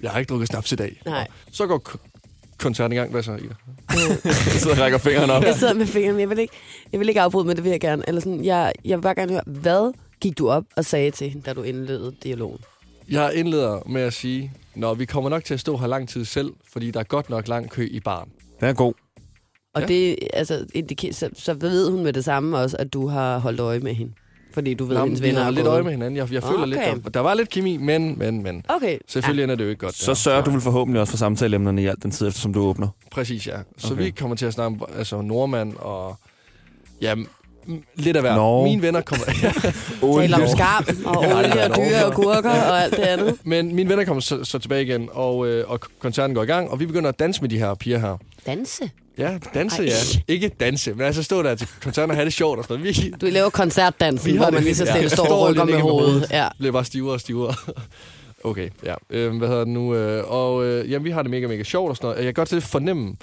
D: Jeg har ikke drukket snaps i dag.
C: nej.
D: Så går k- koncerten i gang. Hvad så, Ida?
C: Øh.
E: Jeg sidder og rækker fingeren op.
C: Jeg sidder med fingrene, men jeg vil ikke, jeg vil ikke afbryde, men det vil jeg gerne. Eller sådan, jeg, jeg vil bare gerne høre, hvad gik du op og sagde til hende, da du indledte dialogen?
D: Jeg indleder med at sige, Nå, vi kommer nok til at stå her lang tid selv, fordi der er godt nok lang kø i baren.
E: Den er god.
C: Og
D: Ja.
C: ja. det, altså, indiker, så, så ved hun med det samme også, at du har holdt øje med hende. Fordi du ved,
D: Nå,
C: Nå,
D: men
C: hendes
D: vi
C: venner
D: har
C: er
D: lidt
C: gået.
D: øje med hinanden. Jeg, jeg føler
C: Okay.
D: lidt, der, der var lidt kemi, men, men, men.
C: Okay.
D: Selvfølgelig ender det jo ikke godt.
E: Så
D: Så,
E: sørger du vel forhåbentlig også for samtaleemnerne i alt den tid, efter som du åbner.
D: præcis, ja. Så
E: Okay.
D: vi kommer til at snakke om altså, nordmand og... Ja, m- lidt af hver.
E: Nå.
D: Mine venner kommer... ja.
C: Ja. Taler om skarm og olie og dyr og kurker og alt det andet.
D: Men mine venner kommer så, så tilbage igen, og, øh, og koncerten går i gang, og vi begynder at danse med de her piger her.
C: Danse.
D: Ja, danse,
C: Ej.
D: ja. Ikke danse, men altså stå der til koncerten og have det sjovt og sådan noget. Vi
C: Du laver koncertdansen,
D: Vi har
C: hvor
D: det
C: man lige
D: lidt-
C: så
D: ja.
C: stille står
D: Står
C: og rykker
D: lidt
C: med
D: ikke med
C: hovedet.
D: hovedet.
C: Ja.
D: bliver bare stivere og stivere. okay, ja. Øh, hvad hedder det nu? Øh, og øh, jamen, vi har det mega, mega sjovt og sådan noget. Jeg kan godt til fornemme,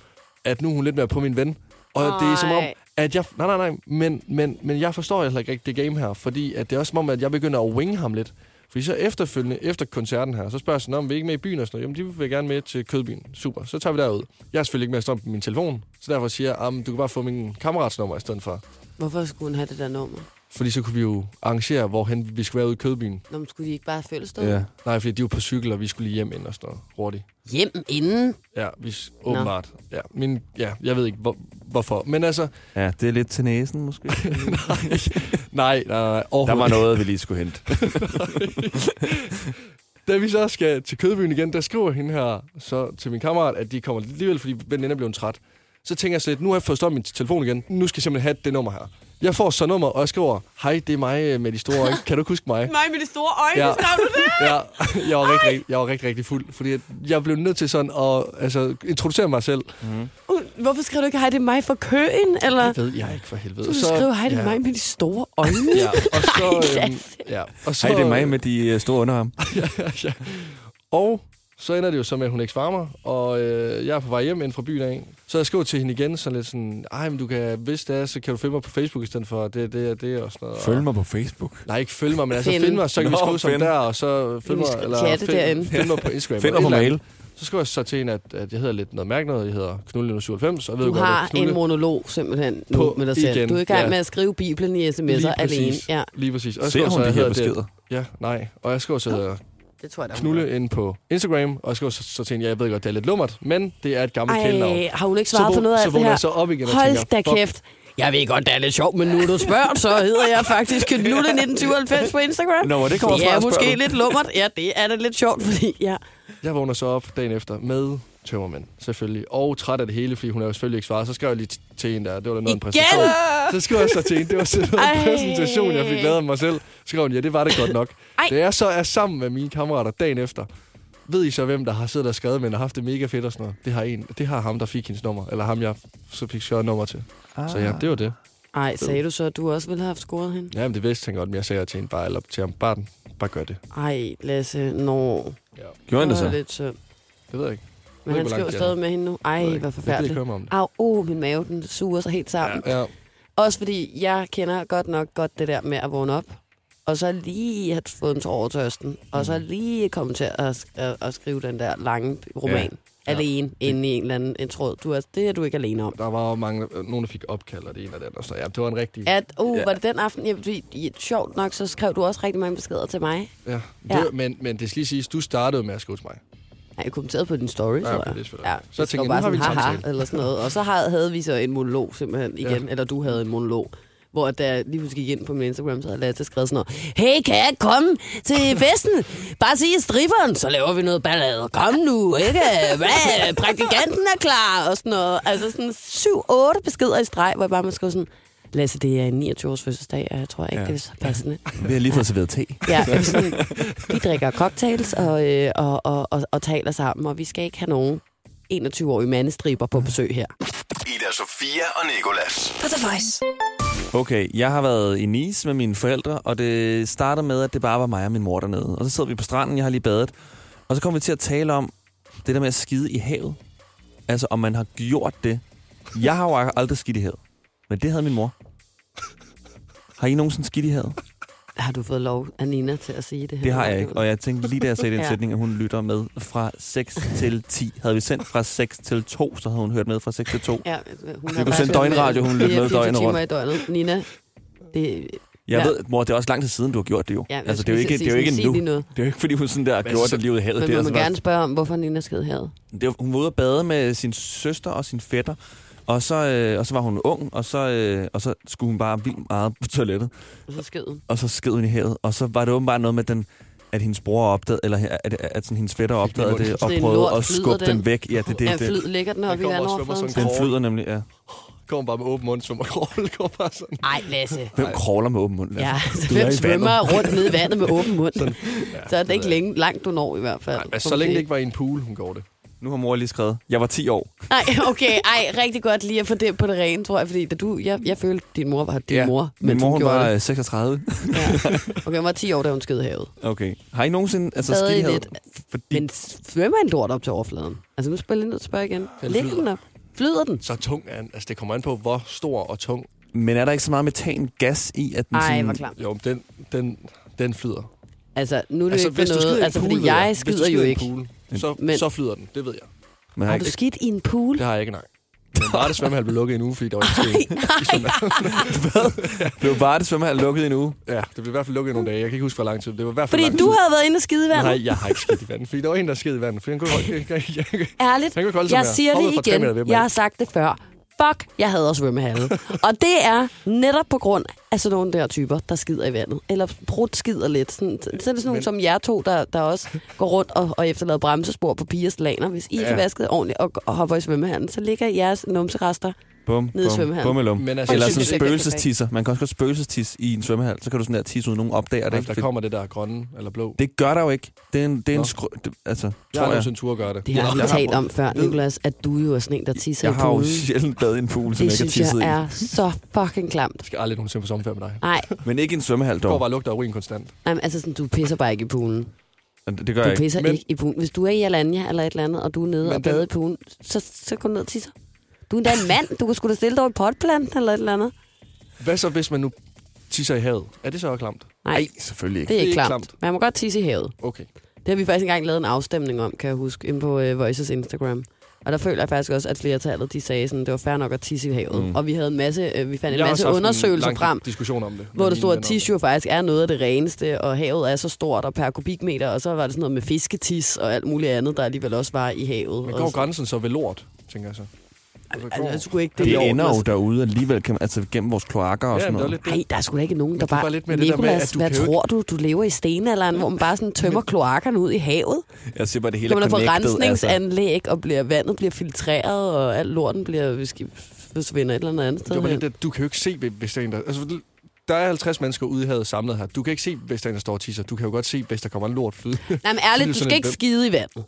D: at nu er hun lidt mere på min ven. Og Ej. det er som om,
G: Ej.
D: at jeg... Nej, nej, nej. Men, men, men jeg forstår heller ikke rigtig det game her. Fordi at det er også som om, at jeg begynder at winge ham lidt. Fordi så efterfølgende, efter koncerten her, så spørger jeg sådan, om vi er ikke med i byen og sådan noget. Jamen, de vil gerne med til kødbyen. Super. Så tager vi derud. Jeg er selvfølgelig ikke med at stå på min telefon. Så derfor siger jeg, at du kan bare få min kammerats nummer i stedet for.
C: Hvorfor skulle hun have det der nummer?
D: Fordi så kunne vi jo arrangere, hvorhen vi skulle være ude i kødbyen.
C: Nå, men skulle de ikke bare følge stå?
E: Ja.
D: Nej, fordi de var på cykel, og vi skulle lige hjem ind og sådan noget hurtigt.
C: Hjem inden.
D: Ja, vi, s- åbenbart. Ja, min, ja, jeg ved ikke, hvor, hvorfor. Men altså,
E: ja, det er lidt til næsen måske.
D: nej, nej, nej.
E: Der var
D: overhovedet
E: noget, vi lige skulle hente.
D: ikke. Da vi så skal til Kødbyen igen, der skriver hende her så til min kammerat, at de kommer alligevel, fordi veninden er blevet træt. Så tænker jeg så lidt, nu har jeg fået stoppet min telefon igen. Nu skal jeg simpelthen have det nummer her. Jeg får så nummer, og jeg skriver, hej, det er mig øh, med de store øjne. Kan du ikke huske mig?
G: Mig med de store øjne,
D: Ja.
G: ja. skrev du det?
D: Ja, jeg var, rigtig, rigtig, jeg var rigtig, rigtig fuld, fordi at jeg blev nødt til sådan at altså, introducere mig selv.
C: Uh, hvorfor skriver du ikke, hej, det er mig for køen? Eller?
D: Det ved jeg ikke for helvede.
C: Du skriver, hej, det er
D: ja.
C: mig med de store øjne.
D: Ja, og så...
C: Ej,
D: øhm, ja, og så
E: Hej, det er mig med de øh, store underarm.
D: Og så ender det jo så med, at hun ikke svarer mig, og øh, jeg er på vej hjem ind fra byen af. Så jeg skriver til hende igen, sådan lidt sådan, ej, men du kan, hvis det er, så kan du følge mig på Facebook i stedet for det, det og det og sådan noget.
E: mig på Facebook.
D: Nej, ikke følge mig, men altså
C: Finde.
D: finde mig, så kan Nå,
E: Nå,
D: vi skrive som
E: finde.
D: der, og så følge
C: Vi
D: mig,
C: skal
D: eller
C: chatte derinde.
D: find, find mig på Instagram.
E: Find
D: eller
E: mig på
D: et eller
E: mail.
D: andet. Så skriver jeg så til hende, at, at jeg hedder lidt noget mærke noget, jeg hedder Knulle97, og ved
C: Du
D: godt,
C: har
D: at
C: en
D: Knulle,
C: monolog simpelthen nu
D: På
C: med dig selv.
D: igen,
C: Du er i gang
D: ja.
C: med at skrive Bibelen i sms'er
D: Lige præcis.
C: alene. Ja,
D: lige præcis. Og jeg
E: Ser
D: skriver
E: hun
D: så,
E: de
D: jeg
E: her
D: hedder det-
E: beskeder?
D: Ja, nej. Og jeg skriver så, jeg hedder
C: det tror jeg da. hun
D: Knulle ind på Instagram, og jeg skriver så, så til hende, ja, jeg ved godt, det er lidt lummert, men det er et
C: gør.
D: gammelt kælenavn.
C: Ej, har hun ikke
D: Så
C: svaret på
D: våg-
C: noget af
D: så
C: alt det
D: vågner
C: her?
D: jeg så op igen og
C: Hold
D: tænker,
C: da
D: fuck.
C: kæft. Jeg ved godt, det er lidt sjovt, men nu du spørger, så hedder jeg faktisk Knulle 1997 på Instagram.
E: Nå, hvor det kommer
C: ja,
E: fra, spørger
C: måske
E: du.
C: lidt lummert. Ja, det er da lidt sjovt, fordi ja.
D: Jeg vågner så op dagen efter med tømmermænd, selvfølgelig. Og træt af det hele, fordi hun har jo selvfølgelig ikke svaret. Så skrev jeg lige t- til hende der, det var da noget af en præsentation. Så skrev jeg så til hende, det var sådan noget en
C: Ej.
D: præsentation, jeg fik lavet af mig selv. Så skrev hun, ja, det var det godt nok.
C: Ej.
D: Da jeg så er sammen med mine kammerater dagen efter, ved I så, hvem der har siddet og skrevet med hende og haft det mega fedt og sådan noget? Det har, en, det har ham, der fik hendes nummer, eller ham, jeg så fik skrevet nummer til. Ah. Så ja, det var det.
C: Ej, sagde du så, at du også ville have haft scoret hende?
D: Jamen, det vidste han godt, men jeg sagde til hende bare, eller til ham, bare, den- bare gør det.
C: Ej, Lasse, nå.
E: Gjorde han det
C: var
E: så?
C: lidt synd.
D: Det ved jeg ikke.
C: Men han skriver stadig med hende nu. Ej, hvor
D: Det, det
C: forfærdeligt.
D: kommer om det.
C: Au, oh, min mave, den suger sig helt sammen.
D: Ja,
C: Også fordi jeg kender godt nok godt det der med at vågne op, og så lige have fået en tår over tørsten, og
D: Mm.
C: så lige komme til at, at, at skrive den der lange roman. Ja. Alene, ja. inde i en eller anden en tråd. Du er, det er du ikke alene om.
D: Der var jo mange, øh, nogen, der fik opkald, og det ene og det andet. Så ja, det var en rigtig...
C: At, uh, ja. var det den aften? Ja, fordi, ja, sjovt nok, så skrev du også rigtig mange beskeder til mig.
D: Ja.
C: Ja.
D: Det, men, men det skal lige siges, du startede med at skrive til mig.
C: Ja, jeg kommenterede på din story, tror
D: okay,
C: jeg.
D: det er selvfølgelig rigtigt. Så
C: jeg
D: tænkte
C: skrev
D: jeg, nu
C: bare
D: har vi en
C: sådan,
D: samtale.
C: eller sådan noget. Og så havde, havde vi så en monolog simpelthen igen,
D: Ja.
C: ja. eller du havde en monolog. Hvor da jeg lige pludselig gik ind på min Instagram, så havde Lasse skrevet sådan noget. Hey, kan jeg komme til festen? Bare sige stripperen, så laver vi noget ballade. Kom nu, ikke? Hvad? Praktikanten er klar, og sådan noget. Altså sådan syv, otte beskeder i streg, hvor jeg bare må skrive sådan, Lasse, det er en 29-års fødselsdag, og jeg tror ikke,
E: Ja.
C: ja. det er så passende.
E: Vi har lige fået serveret te.
C: Ja, jeg vil sådan, vi drikker cocktails og, øh, og, og, og, og taler sammen, og vi skal ikke have nogen 21-årige mandestriber på besøg her.
H: Ida Sofia og Nikolas.
A: På The Voice.
E: Okay, jeg har været i Nice med mine forældre, og det starter med, at det bare var mig og min mor dernede. Og så sidder vi på stranden, jeg har lige badet, og så kommer vi til at tale om det der med at skide i havet. Altså, om man har gjort det. Jeg har jo aldrig skidt i havet, men det havde min mor. Har I nogensinde skidt i havet?
C: Har du fået lov af Nina til at sige det her?
E: Det har jeg ikke, og jeg tænkte lige da jeg sagde den
C: Ja.
E: sætning, at hun lytter med fra 6 til 10. Havde vi sendt fra 6 til 2, så havde hun hørt med fra 6 til 2.
C: Ja, hun har
E: kunne sende
C: været
E: døgnradio, hun løb med
C: 24
E: døgnet
C: timer
E: rundt.
C: i døgnet. Nina, det,
E: Jeg
C: Ja.
E: ved, mor, det er også lang tid siden, du har gjort det jo.
C: Ja,
E: altså,
C: jeg
E: det er jo
C: skulle
E: ikke,
C: lige
E: det er jo
C: sige,
E: ikke
C: sig
E: nu.
C: lige noget.
E: Det er jo ikke, fordi hun sådan der har
D: Men
E: gjort
D: så-
E: det livet i havet.
C: men
E: Det er altså
C: man må
E: sådan,
C: gerne spørge om, hvorfor Nina sked her.
E: det var, hun var ude at bade med sin søster og sin fætter, og så, øh, og så var hun ung, og så, øh, og så skulle hun bare vildt meget på toilettet,
C: Og så sked hun.
E: og så sked hun i havet, og så var det åbenbart noget med den at hendes bror opdagede, eller at, at, at sådan, hendes fætter opdagede
D: munden.
E: det, og
C: Sådan en
E: prøvede
C: lort
E: at
C: flyder
E: skubbe den
C: den.
E: væk. Ja, det, det,
C: Ja,
E: det,
C: flyd, ligger den op i
D: Den kommer og svømmer
C: vandoverfladen?
D: sådan
E: den
D: en
E: flyder nemlig, ja.
D: Kom bare med åben mund, svømmer kravl. Kom bare sådan.
C: Nej, Lasse.
E: Hvem crawler med åben mund? Lasse?
C: Ja, altså,
E: Du er i
C: hvem
E: vandet.
C: svømmer rundt nede i vandet med åben mund? så er det ikke længe, langt, du når i hvert fald.
D: Ej, altså, så længe det ikke var i en pool, hun gjorde det.
E: Nu har mor lige skrevet, jeg var 10 år.
C: Nej, okay. Ej, rigtig godt lige at få det på det rene, tror jeg. Fordi da du, jeg, jeg følte, din mor var din
E: Ja,
C: mor, men
E: Min mor
C: hun
E: hun
C: gjorde
E: var
C: det.
E: øh, 36.
C: Ja. Okay, hun var 10 år, da hun skød i havet.
E: Okay. Har I nogensinde altså,
C: Stadig
E: skidt i havet?
C: lidt.
E: Fordi
C: Men svømmer en lort op til overfladen? Altså, nu spiller jeg lige nødt til at spørge igen.
D: Den
C: Ligger
D: flyder.
C: den op? Flyder den?
D: Så tung er den. Altså, det kommer an på, hvor stor og tung.
E: Men er der ikke så meget metangas i, at den
C: Ej,
E: sådan...
C: hvor klam.
D: Jo, men den, den, den flyder.
C: Altså, nu er det altså,
D: Altså,
C: ikke
D: hvis du
C: for
D: skider i
C: noget.
D: en
C: Altså,
D: pool,
C: fordi
D: ved jeg.
C: jeg
D: Hvis du
C: skider jo
D: i en
C: ikke.
D: Pool, så,
C: Men-
D: så flyder den, det ved jeg.
E: Men har
C: Har
E: ikke-
C: du skidt i en pool?
D: Det har jeg ikke, nej. Men bare det svømmehal blev lukket i en uge, fordi der var ikke sten.
E: blev bare det svømmehal lukket i en uge.
D: Ja, det blev i hvert fald lukket i nogle dage. Jeg kan ikke huske, hvor lang tid. Det var i hvert fald
C: Fordi
D: lang
C: du
D: tid.
C: havde været inde og skide i vandet.
D: Nej, jeg har ikke skidt i vandet, fordi der var en, der skid i vandet. For han kunne holde, jeg, jeg, jeg, jeg,
C: Ærligt,
D: Han kan godt holde sig
C: jeg
D: med.
C: siger
D: Hoppede fra
C: det
D: tre meter ved
C: igen.
D: mig.
C: Jeg har sagt det før. Fuck, jeg hader svømmehalle. og det er netop på grund af sådan nogle der typer, der skider i vandet. Eller brudt skider lidt. Sådan, så er det sådan nogle
D: Men-
C: som jer to, der, der også går rundt og, og efterlader bremsespor på pigers laner. Hvis I ikke
D: Ja.
C: er vasket ordentligt og, og hopper i svømmehallen, så ligger jeres numserester.
E: Bum,
C: Ned i
E: bum,
C: svømmehallen.
E: bummelum.
D: Men altså-
E: Eller
D: Undskyld,
E: sådan
D: det er
E: spøgelsestisser. Man kan også godt spøgelsestis i en svømmehal. Så kan du sådan der tisse, uden nogen opdager det.
D: jeg,
E: Ikke?
D: Altså, der
E: For
D: kommer det der grønne eller blå. Det,
E: Det gør der jo ikke. Det er en, det er en
D: Nå.
E: skru... Det, altså,
D: jeg har
E: tror jeg.
D: nogensinde tur at gøre det.
C: Det har
E: Ja,
C: vi
E: jeg har
C: talt
E: brugt-
C: om før,
E: ved-
C: Niklas, at du jo er sådan en, der tisser
E: Jeg
C: i
E: har jo
C: poolen.
E: sjældent badet i en pool, som
C: Det
E: jeg ikke har
C: synes
E: tisset
C: jeg
E: i.
C: er så fucking klamt.
D: Jeg skal aldrig nogensinde på sommerferie med dig.
C: Nej,
E: Men ikke i en svømmehal,
D: Jeg går
E: dog.
D: bare og lugter af urin konstant.
C: jamen, altså sådan, du pisser bare ikke i poolen.
E: Det det gør jeg
C: Du
E: ikke.
C: pisser
D: Men-
C: ikke i poolen. Hvis du er i Alanya eller et eller andet, og du er nede
D: Men
C: og bader
D: den-
C: i poolen, så, så gå ned og tisser. Du er endda en mand. Du kan sgu da stille dig over et potplant eller et eller andet.
D: Hvad så, hvis man nu tisser i havet? Er det så klamt?
C: Nej,
E: selvfølgelig
C: det
E: ikke.
C: er ikke
D: ikke
C: klamt. Man må godt tisse i havet.
D: Okay.
C: Det har vi faktisk engang lavet en afstemning om, kan jeg huske, inde på øh, Voices Instagram. Og der føler jeg faktisk også, at flertallet de sagde, sådan, det var fair nok at tisse i havet. Mm. Og vi havde en masse, øh, vi fandt en
D: har
C: masse
D: også haft
C: undersøgelser
D: lang
C: frem,
D: diskussion om det.
C: hvor der
D: med mine
C: stod, at
D: venner.
C: tis jo faktisk er noget af det reneste, og havet er så stort og per kubikmeter, og så var det sådan noget med fisketis og alt muligt andet, der alligevel også var i havet.
D: Men
C: Og
D: går
C: så-
D: grænsen så ved lort, tænker jeg så? Altså,
C: altså, jeg
D: går-
C: skulle ikke det,
E: Det
C: i
E: ender jo
C: orden.
E: derude alligevel, kan man, altså gennem vores kloakker og
D: Ja,
E: sådan
D: men det er
E: noget.
D: lidt
C: Nej,
D: det.
C: der er sgu da ikke nogen, der
D: det er
C: bare...
D: bare lidt mere det der
C: Nicolas,
D: med, at du
C: hvad
D: kan jo
C: tror du? Du lever i stenalderen, hvor man bare sådan tømmer kloakkerne ud i havet.
E: Jeg siger bare, det hele
C: Når man
E: er
C: er på
E: connected. Altså.
C: rensningsanlæg, og bliver, vandet bliver filtreret, og alt lorten bliver hvis det forsvinder et eller andet
D: Det
C: sted.
D: var bare
C: hen.
D: lidt det, du kan jo ikke se, hvis der er en, der... Altså, der er 50 mennesker ude i havet samlet her. Du kan ikke se, hvis der er en, der står og tisser. Du kan jo godt se, hvis der kommer en lort flyde.
C: Nej, men
D: Det er
C: ærligt, du
D: sådan
C: skal
D: en
C: ikke
D: døm.
C: skide i vandet.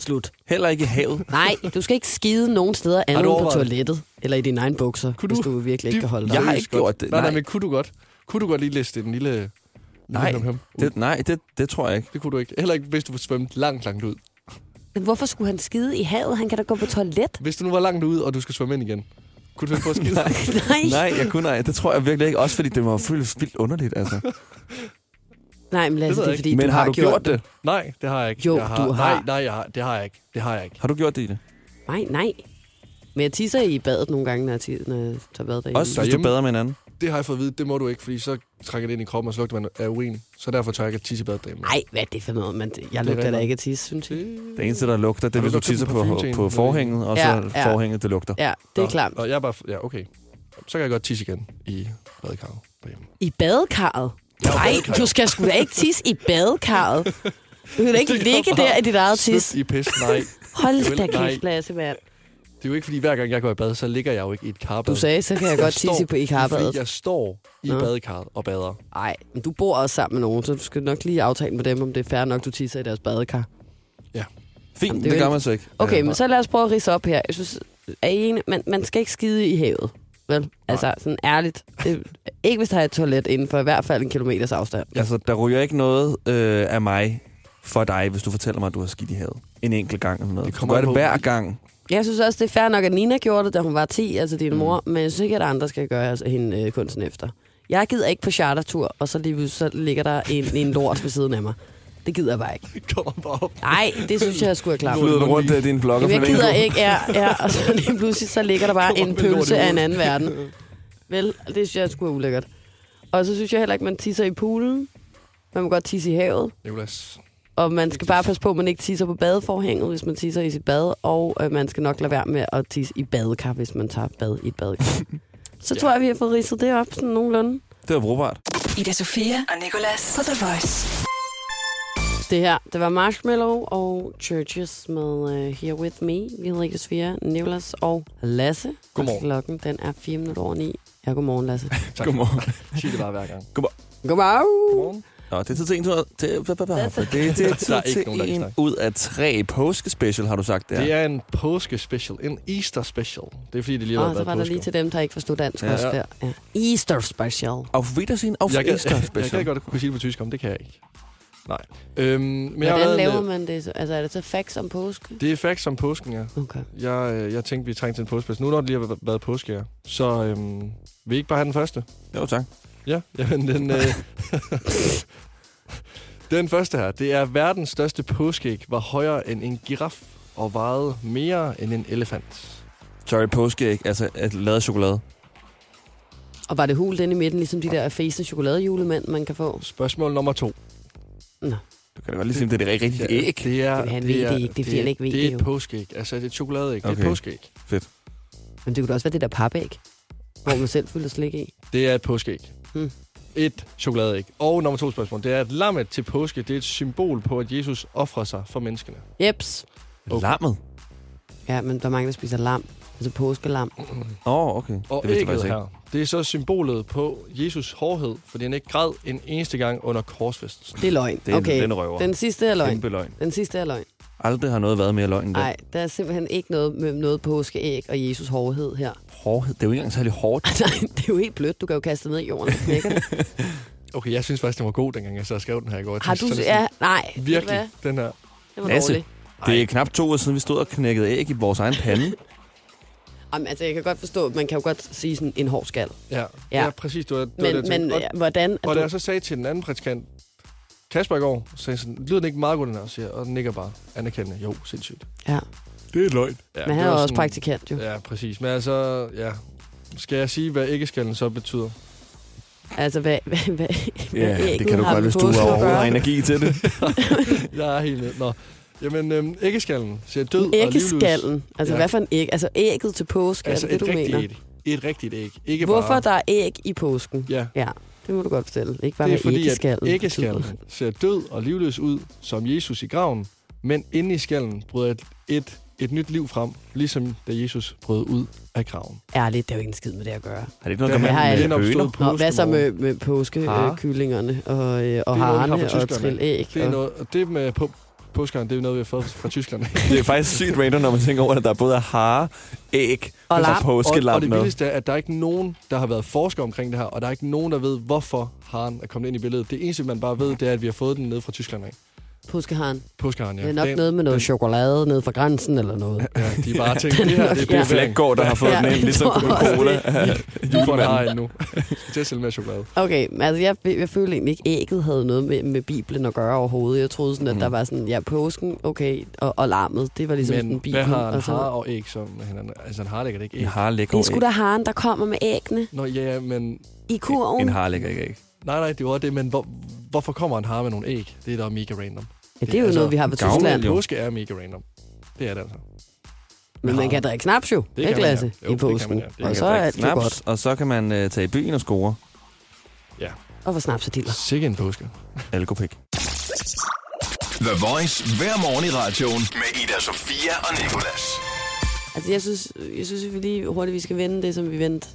C: Slut.
E: Heller ikke i havet.
C: Nej, du skal ikke skide nogen steder andet
D: du
C: end på
D: overvejet det?
C: toilettet. Eller i dine egne bukser,
D: Kunne
C: hvis
D: du-
C: du virkelig ikke kan holde dig.
E: Jeg har
D: Seriøst
E: ikke gjort det,
D: Nej, nej,
E: nej.
D: men kunne du godt? Kunne du godt lige liste den lille...
E: Nej,
D: lille ham? Det,
E: det, nej det, det tror jeg ikke.
D: det kunne du ikke. Heller ikke, hvis du svømte langt, langt ud.
C: Men hvorfor skulle han skide i havet? Han kan da gå på toilet.
D: Hvis du nu var langt ud, og du skal svømme ind igen. Kunne du finde på at skille?
C: Nej. Nej.
E: Nej, jeg kunne ej. Det tror jeg virkelig ikke. Også fordi det var føles vildt underligt, altså.
C: Nej, men Lasse, det
D: ved
C: er
D: jeg
C: fordi,
E: Men
C: du
E: har, du gjort, gjort det?
D: Nej, det har jeg ikke.
C: Jo,
D: jeg har,
C: du har.
D: Nej, nej, jeg har, det har jeg ikke. Det har jeg ikke.
E: Har du gjort det, Ida?
C: Nej, nej. Men jeg tisser i badet nogle gange, når jeg, ti- når jeg tager bad derinde.
E: Også hvis du
D: Derhjemme?
E: bader med en anden?
D: Det har jeg fået at vide, det må du ikke, fordi så trækker det ind i kroppen, og så lugter man af urin. Så derfor tør jeg ikke at tisse i badet derhjemme.
C: Nej, hvad er det for noget? Man, jeg
D: er
C: lugter da
D: rigtigt.
C: ikke at tisse, synes jeg.
D: Det-
E: Det eneste, der lugter, det er,
D: Har du
E: hvis du
D: så købt en
E: tisser
D: parfume
E: på,
D: til en?
E: på forhænget, og så
C: Ja, ja.
E: forhænget, det lugter.
C: Ja, det er
D: Nå,
C: klart.
D: Og jeg er bare... Ja, okay. Så kan jeg godt tisse igen i badekarret derhjemme.
C: I badekarret?
D: Ja, i
C: Nej,
D: badekarret.
C: du skal sgu da ikke tisse i badekarret. Du kan da ikke
D: Det kan
C: ligge
D: bare
C: der i dit eget tis.
D: Slut i pis, nej.
C: Hold da
D: Vel, nej.
C: kæft, Lasse, mand.
D: Det er jo ikke, fordi hver gang jeg går i bad, så ligger jeg jo ikke i et karbad.
C: Du sagde, så kan jeg godt tisse i- på- i
D: Fordi
C: karbadet.
D: jeg står i
C: Nå.
D: badekarret og bader.
C: Nej, men du bor også sammen med nogen, så du skal nok lige aftale med dem, om det er fair nok, du tisser i deres badekar. Jamen,
E: Fint,
C: det er
E: det
C: jo
E: gør
C: ikke-
E: man så ikke.
C: Okay,
E: Øh,
C: men så lad os prøve at rise op her. Jeg synes, er I enige? Man, man skal ikke skide i havet, vel? Altså, sådan ærligt. Det, ikke hvis der er et toilet inden for i hvert fald en kilometers afstand.
E: Altså, der ryger ikke noget øh, af mig for dig, hvis du fortæller mig, at du har skidt i havet. En enkelt gang eller noget.
D: Det
E: Det du
D: kommer
E: gør det
D: an på-
E: hver gang.
C: Jeg synes også, det er fair nok, at Nina gjorde det, da hun var 10, altså din mor, men jeg synes ikke, at andre skal gøre altså, hende øh, kunsten efter. Jeg gider ikke på chartertur, og så lige pludselig så ligger der en, en lort ved siden af mig. Det gider jeg bare ikke.
D: Det kommer bare op.
C: Nej, det synes jeg, jeg skulle have klaret.
E: Flyder den
D: øh,
E: rundt af dine blokker
C: Jamen,
E: for længe.
C: jeg gider ikke, ja, ja, og så lige pludselig så ligger der bare
D: Kommer
C: en
D: med lort i
C: pølse af en
D: hovedet.
C: anden verden. Vel, det synes jeg skulle ulækkert. Og så synes jeg heller ikke, man tisser i poolen. Man må godt tisse i havet.
D: Nicolas,
C: Og man skal bare passe på, at man ikke tisser på badeforhænget, hvis man tisser i sit bad. Og øh, man skal nok lade være med at tisse i badekar, hvis man tager bad i et badekar. Så tror jeg, vi har fået ridset det op sådan nogenlunde.
E: Det var brugbart.
A: Ida Sofia og Nicolas på The Voice.
C: Det her, det var Marshmallow og Churches med uh, Here With Me. Vi hedder ikke Svea, Nicolas og Lasse.
D: Godmorgen.
C: Og klokken den er 4 minutter over 9. Ja, godmorgen, Lasse.
D: tak.
E: Godmorgen.
D: Sig det bare hver gang.
C: godmorgen.
D: Godmorgen.
E: Nå, det er tid til en, ud- til- det det- det er
D: Der er
E: tid
D: ikke
E: til
D: nogen, der kan
E: en
D: snakke.
E: ud af tre påskespecial, har du sagt der.
D: Det er en påske special. En Easter special. Det er fordi, det lige har
C: Og
D: været
C: Ah, så var der
D: påske.
C: lige til dem, der ikke forstod dansk ja,
E: Ja.
C: også der. Ja. Easter special.
E: Auf Wiedersehen, auf
D: jeg,
E: Easter
D: kan, jeg kan
E: special.
D: godt kunne sige det på tysk, om det kan jeg ikke. Nej. Øhm, men jeg har
C: Hvordan
D: lavet en,
C: laver
D: øh,
C: man det? så? Altså, er det så fax om påske?
D: Det er faktisk som påsken, ja.
C: Okay.
D: Jeg, øh, jeg tænkte, vi trængte til en påskepils. Nu når det lige har været påske, ja. Så øhm, vil I ikke bare have den første?
E: Jo, tak.
D: Ja, jamen den... Øh, den første her. Det er verdens største påskeæg var højere end en giraf og vejede mere end en elefant.
E: Sorry, påskeæg, altså at lavet chokolade.
C: Og var det hul den i midten, ligesom de der fæsende chokoladejulemænd, man kan få?
D: Spørgsmål nummer to.
E: Du kan da godt lige sige, at det er et rigtigt
D: Ja,
E: æg.
D: Det er,
C: Jamen, han ved det ikke. Det er, fordi han ikke ved
D: det
C: det
D: er et
C: jo.
D: påskeæg. Altså, det er et chokoladeæg. Det er
E: Okay.
D: et påskeæg.
C: Men det kunne da også være det der papæg, hvor man selv fylder slik i.
D: Det er et påskeæg.
C: Hmm.
D: Et chokoladeæg. Og nummer to spørgsmål. Det er, at lammet til påske, det er et symbol på, at Jesus offrer sig for menneskene.
C: Jeps.
D: Okay.
E: Lammet?
C: Ja, men der er mange, der spiser lam. Altså påskelam.
E: Åh, oh, okay.
D: Og
E: det vidste jeg
D: ægget
E: faktisk ikke.
D: her, det er så symbolet på Jesus hårdhed, fordi han ikke græd en eneste gang under korsfesten.
C: Det er løgn.
E: Det er
C: okay.
E: den røver.
C: Den sidste er løgn.
E: Kæmpe løgn.
C: Den sidste er løgn.
E: Aldrig har noget været mere løgn end det.
C: Nej, der er simpelthen ikke noget med noget påskeæg og Jesus hårdhed her.
E: Hårdhed. Det er jo ikke engang særlig hårdt.
C: Nej, det er jo helt blødt. Du kan jo kaste det ned i jorden. og knække det.
D: Okay, jeg synes faktisk, den var god, dengang jeg så skrev den her i går. Jeg
C: Har du...
D: tænkte, sådan,
C: Ja, nej. ved du hvad?
D: Virkelig, den her.
C: Det var
E: Lasse.
C: dårligt.
E: Det er knap to år siden, vi stod og knækkede æg i vores egen pande.
C: Jamen, altså, jeg kan godt forstå, man kan jo godt sige sådan en hård skal.
D: Ja,
C: Ja.
D: ja. ja præcis. Du, du,
C: Men, men
D: og,
C: ja, hvordan... altså, er
D: og
C: du-
D: da jeg så sagde til den anden prædikant, Kasper i går, så sagde jeg sådan, lyder den ikke meget god, den her, siger, jeg, og den nikker bare anerkendende. Jo, sindssygt.
C: Ja.
E: Det er løgn.
D: Ja,
C: Men han
D: det
C: er
D: var
C: jo også
D: sådan-
C: praktikant, jo.
D: Ja, præcis. Men altså, ja. Skal jeg sige, hvad æggeskallen så betyder?
C: Altså, hvad, hvad, hvad,
E: Ja,
C: hvad
E: det kan du godt, hvis du overhovedet har energi til det.
D: Jeg er helt ned. Nå. Jamen, øhm, æggeskallen siger død og livløs.
C: Æggeskallen. Altså, ja.
D: Ja.
C: hvad for en æg? Altså, ægget til påske, altså,
D: Altså
C: er det
D: et
C: det, du
D: rigtigt
C: mener?
D: æg. Et rigtigt æg. Ikke
C: Hvorfor
D: bare...
C: der er æg i påsken?
D: Ja,
C: Ja, det må du godt fortælle. Ikke bare
D: det er
C: hvad
D: fordi, at
C: æggeskallen
D: æggeskallen
C: betyder.
D: ser død og livløs ud, som Jesus i graven, men inde i skallen bryder et, et, et nyt liv frem, ligesom da Jesus brød ud af graven.
C: Ærligt, det er jo ikke en skid med det at gøre.
E: Har det ikke noget at
D: Der
E: gøre
C: har jeg
E: med, med
D: genopstået
E: høner?
C: Nå, hvad så med, med
E: Hare.
C: påskekyllingerne og, øh, og
D: vi har fra
C: harerne og
D: Tyskland af.
C: trille æg?
D: Det er
C: og-
D: noget, og det med på, påskeren, det er noget, vi har fået fra Tyskland.
E: Det er faktisk sygt random, når man tænker over, at der både er hare, æg
C: Og
E: og,
C: lam.
E: og
D: og,
E: påskelam
D: og det
E: med.
D: vildeste er, at der er ikke nogen, der har været forsker omkring det her, og der er ikke nogen, der ved, hvorfor haren er kommet ind i billedet. Det eneste, man bare ved, det er, at vi har fået den ned fra Tyskland af.
C: Påskeharen.
D: Påskeharen, ja.
C: Det er nok
D: Den-
C: noget med noget
D: den-
C: chokolade nede fra grænsen eller noget.
D: Ja, de er bare tænkt, det her det
C: Ja.
D: er
E: Ja.
D: god flæk.
E: Flækgaard, der har fået
C: Ja,
E: ja, den ind,
C: jeg
E: ligesom
C: tror også
E: Coca-Cola.
D: Julemanden har en nu. Jeg skal til at sælge mere chokolade.
C: Okay, men altså jeg, jeg følte egentlig ikke, at ægget havde noget med, med Bibelen at gøre overhovedet. Jeg troede sådan, at mm. der var sådan, ja, påsken, okay, og, og larmet, det var ligesom
D: Men
C: sådan
D: hvad
C: Bibelen.
D: har en
C: og så-
D: har og æg som med hinanden? Altså en har lægger det ikke æg.
E: En har lækker
C: Det er sgu
E: æg.
C: da haren, der kommer med æggene
D: Nå ja, men...
C: i kurven.
E: En har lækker æg.
D: Nej, nej, det var det, men hvor, hvorfor kommer en har med nogle æg? Det er da mega random.
C: ja, det er jo
D: altså
C: noget, vi har på
E: gavmild,
C: Tyskland.
E: jo.
D: Påske er mega random. Det er det altså.
C: Men man
D: Ja.
C: kan drikke snaps jo,
D: kan
C: ikke
D: man, ja.
C: Lasse,
D: Jo,
C: i
D: det kan man,
C: påsken.
D: ja. Det
C: Og
D: kan
C: så er alt jo godt.
E: snaps, og så kan man øh, tage i byen og score
C: Og for snaps og diller.
D: Sikke en påske.
E: alkopik.
H: The Voice hver morgen i radioen med Ida Sofia og Nicolas.
C: Altså, jeg synes, jeg synes, at vi lige hurtigt vi skal vende det, som vi vendte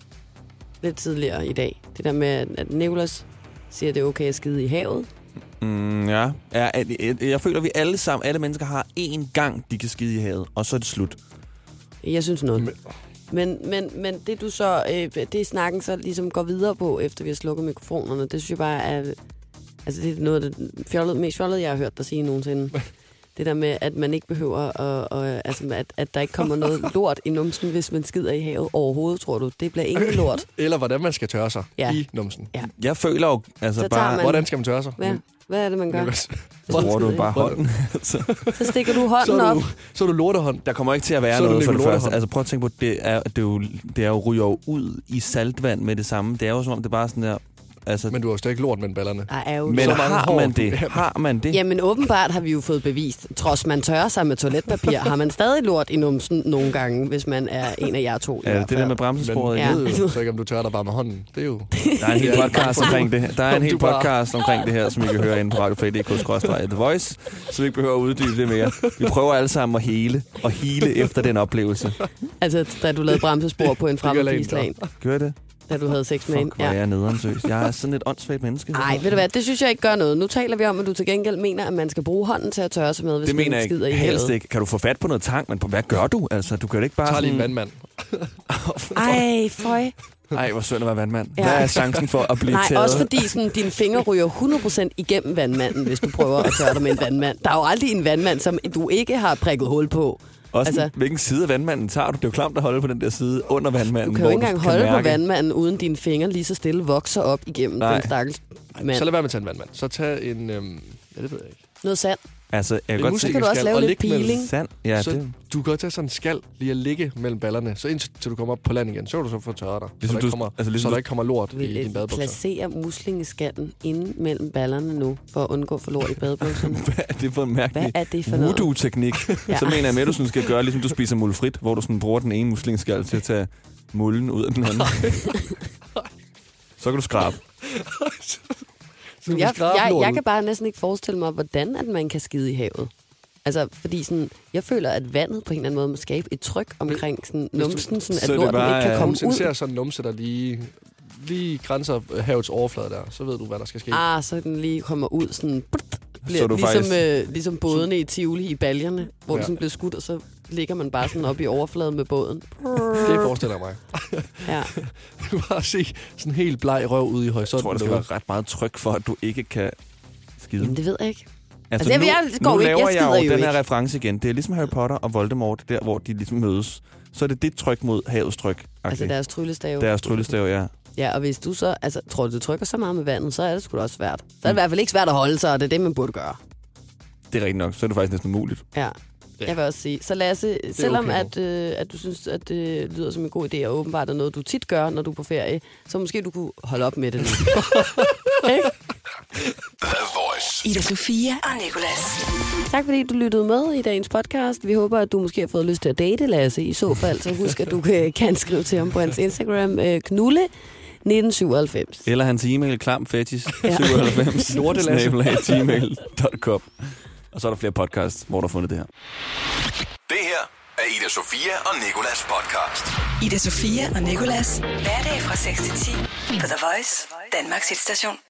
C: lidt tidligere i dag. Det der med, at- at Nicolas siger, at det er okay at skide i havet.
E: Mm, ja. ja at- jeg, jeg føler, at vi alle sammen, alle mennesker har én gang, de kan skide i havet, og så er det slut.
C: Jeg synes noget. Men, men, men det du så, øh, det snakken så ligesom går videre på, efter vi har slukket mikrofonerne, det synes jeg bare er, altså det er noget af det fjollede, mest fjollede, jeg har hørt dig sige nogensinde. Det der med, at man ikke behøver, at, og, altså, at, at der ikke kommer noget lort i numsen, hvis man skider i havet overhovedet, tror du. Det bliver ingen lort.
D: Eller hvordan man skal tørre sig
C: Ja.
D: ja. i numsen.
E: Jeg føler jo altså
C: Så tager
E: bare...
C: man-
D: Hvordan skal man tørre sig?
C: Hvad, hvad er det, man gør?
D: Nicolas?
C: hvis
E: Så
C: man
E: bruger du
C: skider i-
E: bare
D: Hvor-
E: hånden. altså.
C: Så stikker du
D: Så
C: hånden
D: er
C: op.
D: du, så er du lortehånd.
E: Der kommer ikke til at være
D: Så er det
E: noget for det
D: Nicolotehånd.
E: første. Altså prøv at tænke på, det er, det er jo, det er jo ryger jo ud i saltvand med det samme. Det er jo som om, det er bare sådan der... Altså, men,
D: Men du har jo slet ikke lort mellem ballerne.
C: Ej, er jo
E: men
D: så mange
E: har
D: hår.
E: man det? Har man det?
C: Jamen åbenbart har vi jo fået bevist, trods man tørrer sig med toiletpapir, har man stadig lort i numsen nogle gange, hvis man er en af jer to. i
E: Ja,
C: hvert
E: det der
C: fald.
E: med bremsesporet.
D: Men
E: i
C: Ja.
D: ja.
E: hovedet.
D: ved jo så ikke, om du tørrer dig bare med hånden. Det er jo...
E: Der er en hel
D: Ja.
E: podcast omkring det her. Der er en
D: Om
E: hel
D: du bare-
E: podcast omkring det her, som I kan høre inde på radioplay.dk-the voice, så vi ikke behøver at uddybe det mere. Vi prøver alle sammen at hele og hele efter den oplevelse.
C: Altså, da du lavede bremsespor på en
D: gør
C: fremmed
D: lægen
C: island,
E: Gør det?
C: da du havde sex med en.
E: Fuck, hvor er
C: Ja.
E: jeg nederen, seriøst. Jeg er sådan et åndssvagt menneske.
C: Ej, ved du hvad, det synes jeg ikke gør noget. Nu taler vi om, at du til gengæld mener, at man skal bruge hånden til at tørre sig med, hvis
E: det mener
C: man
E: jeg
C: skider
E: ikke.
C: i
E: Helst
C: havet.
E: ikke. Kan du få fat på noget tang, men på, hvad gør du? Altså, du kan jo ikke bare
D: Tag lige en
E: sådan...
D: vandmand.
C: Ej, føj.
E: Ej, hvor synd at være vandmand.
C: Ja.
E: Ja. Hvad er chancen for at blive
C: Nej,
E: taget?
C: også fordi sådan, dine fingre ryger 100% igennem vandmanden, hvis du prøver at tørre dig med en vandmand. Der er jo aldrig en vandmand, som du ikke har prikket hul på.
E: Også
C: altså-
E: altså... hvilken side af vandmanden tager du? Det er jo klamt at holde på den der side under vandmanden.
C: Du kan jo
E: hvor
C: ikke engang holde
E: mærke-
C: på vandmanden, uden dine fingre lige så stille vokser op igennem Nej.
E: Nej.
C: den stakkels
D: Så
C: mand.
D: lad være med at tage en vandmand. Så tag en... Øhm, ja, det ved jeg ikke.
C: Noget sand.
E: Altså, jeg
D: En
E: kan godt
D: muskel-
E: se...
C: Så kan du også
D: skal-
C: lave
D: og
C: lidt
D: ligge mellem-
C: peeling.
E: Sand. Ja,
D: så
E: det...
D: du kan godt tage sådan en skal lige at ligge mellem ballerne, så indtil til du kommer op på land igen, så vil du så få tørret dig.
E: Ligesom
D: så, der ikke
E: du-
D: kommer,
E: altså
D: altså,
E: ligesom
D: så
E: du-
D: der ikke kommer lort i
C: Vil
D: din
C: øh,
D: badebukser.
C: placere muslingeskallen inde mellem ballerne nu, for at undgå for lort i badebukserne.
E: Hvad er det for en mærkelig...
C: Hvad er det for noget?
E: voodoo-teknik.
C: Ja.
E: ja. Så mener jeg med, at du sådan skal gøre, ligesom du spiser mulfrit, hvor du sådan bruger den ene muslingskal til at tage mullen ud af den anden. så kan du skrabe.
D: Så du kan
C: Jeg,
D: skrabe
C: jeg, jeg
D: lortet.
C: kan bare næsten ikke forestille mig, hvordan at man kan skide i havet. Altså, fordi sådan, jeg føler, at vandet på en eller anden måde må skabe et tryk omkring sådan, numsen, sådan, at
E: så er det
C: lorten
E: bare,
C: ikke kan
E: øh,
C: komme
D: Nogensinde ser
C: ud.
D: sådan en numse, der lige, lige grænser øh, havets overflade der, så ved du, hvad der skal ske.
C: Ah, så den lige kommer ud sådan... Brrt, bliver,
E: Så er du
C: ligesom,
E: faktisk-
C: øh, ligesom bådene i Tivoli i baljerne, hvor ja.
D: Ja.
C: du sådan bliver skudt, og så ligger man bare sådan op i overfladen med båden.
D: Det forestiller jeg mig.
C: Ja.
D: Du kan bare se sådan en helt bleg røv ude i
E: Jeg
D: horisonten.
E: tror, der skal
D: derude.
E: være ret meget tryk for, at du ikke kan skide.
C: Jamen, det ved jeg ikke.
E: altså,
C: jeg- jeg går
E: nu
C: ikke. Jeg
E: laver jeg,
C: skider jo
E: jo den her
C: ikke.
E: reference igen. Det er ligesom Harry Potter og Voldemort, der hvor de ligesom mødes. Så er det dit tryk mod havets tryk. Okay.
C: Altså deres tryllestave.
E: Deres tryllestav, ja.
C: Ja, og hvis du så, altså, tror du, du trykker så meget med vandet, så er det sgu da også svært. Så er
E: Mm.
C: det i hvert fald ikke svært at holde sig, og det er det, man burde gøre.
E: Det er rigtigt nok. Så er det faktisk næsten umuligt.
C: Ja.
D: Ja.
C: Jeg vil også sige. Så Lasse, selvom
D: okay.
C: at, øh, at du synes, at det lyder som en god idé, og åbenbart er noget, du tit gør, når du er på ferie, så måske du kunne holde op med det nu.
H: The Voice.
A: Ida Sofia og Nicolas.
C: tak fordi du lyttede med i dagens podcast. Vi håber, at du måske har fået lyst til at date Lasse. I så fald, så husk, at du kan, kan skrive til ham på hans Instagram, øh, knulle 1997.
E: Eller hans e-mail, klamfetis,
C: Ja.
E: 97,
D: Lortelasse.
E: snabelag, gmail.com. Og så er der flere podcasts, hvor du har fundet det her.
H: Det her er Ida Sofia og Nicolas podcast.
A: Ida Sofia og Nicolas. Hverdag fra 6 til 10 på The Voice, Danmarks hitstation.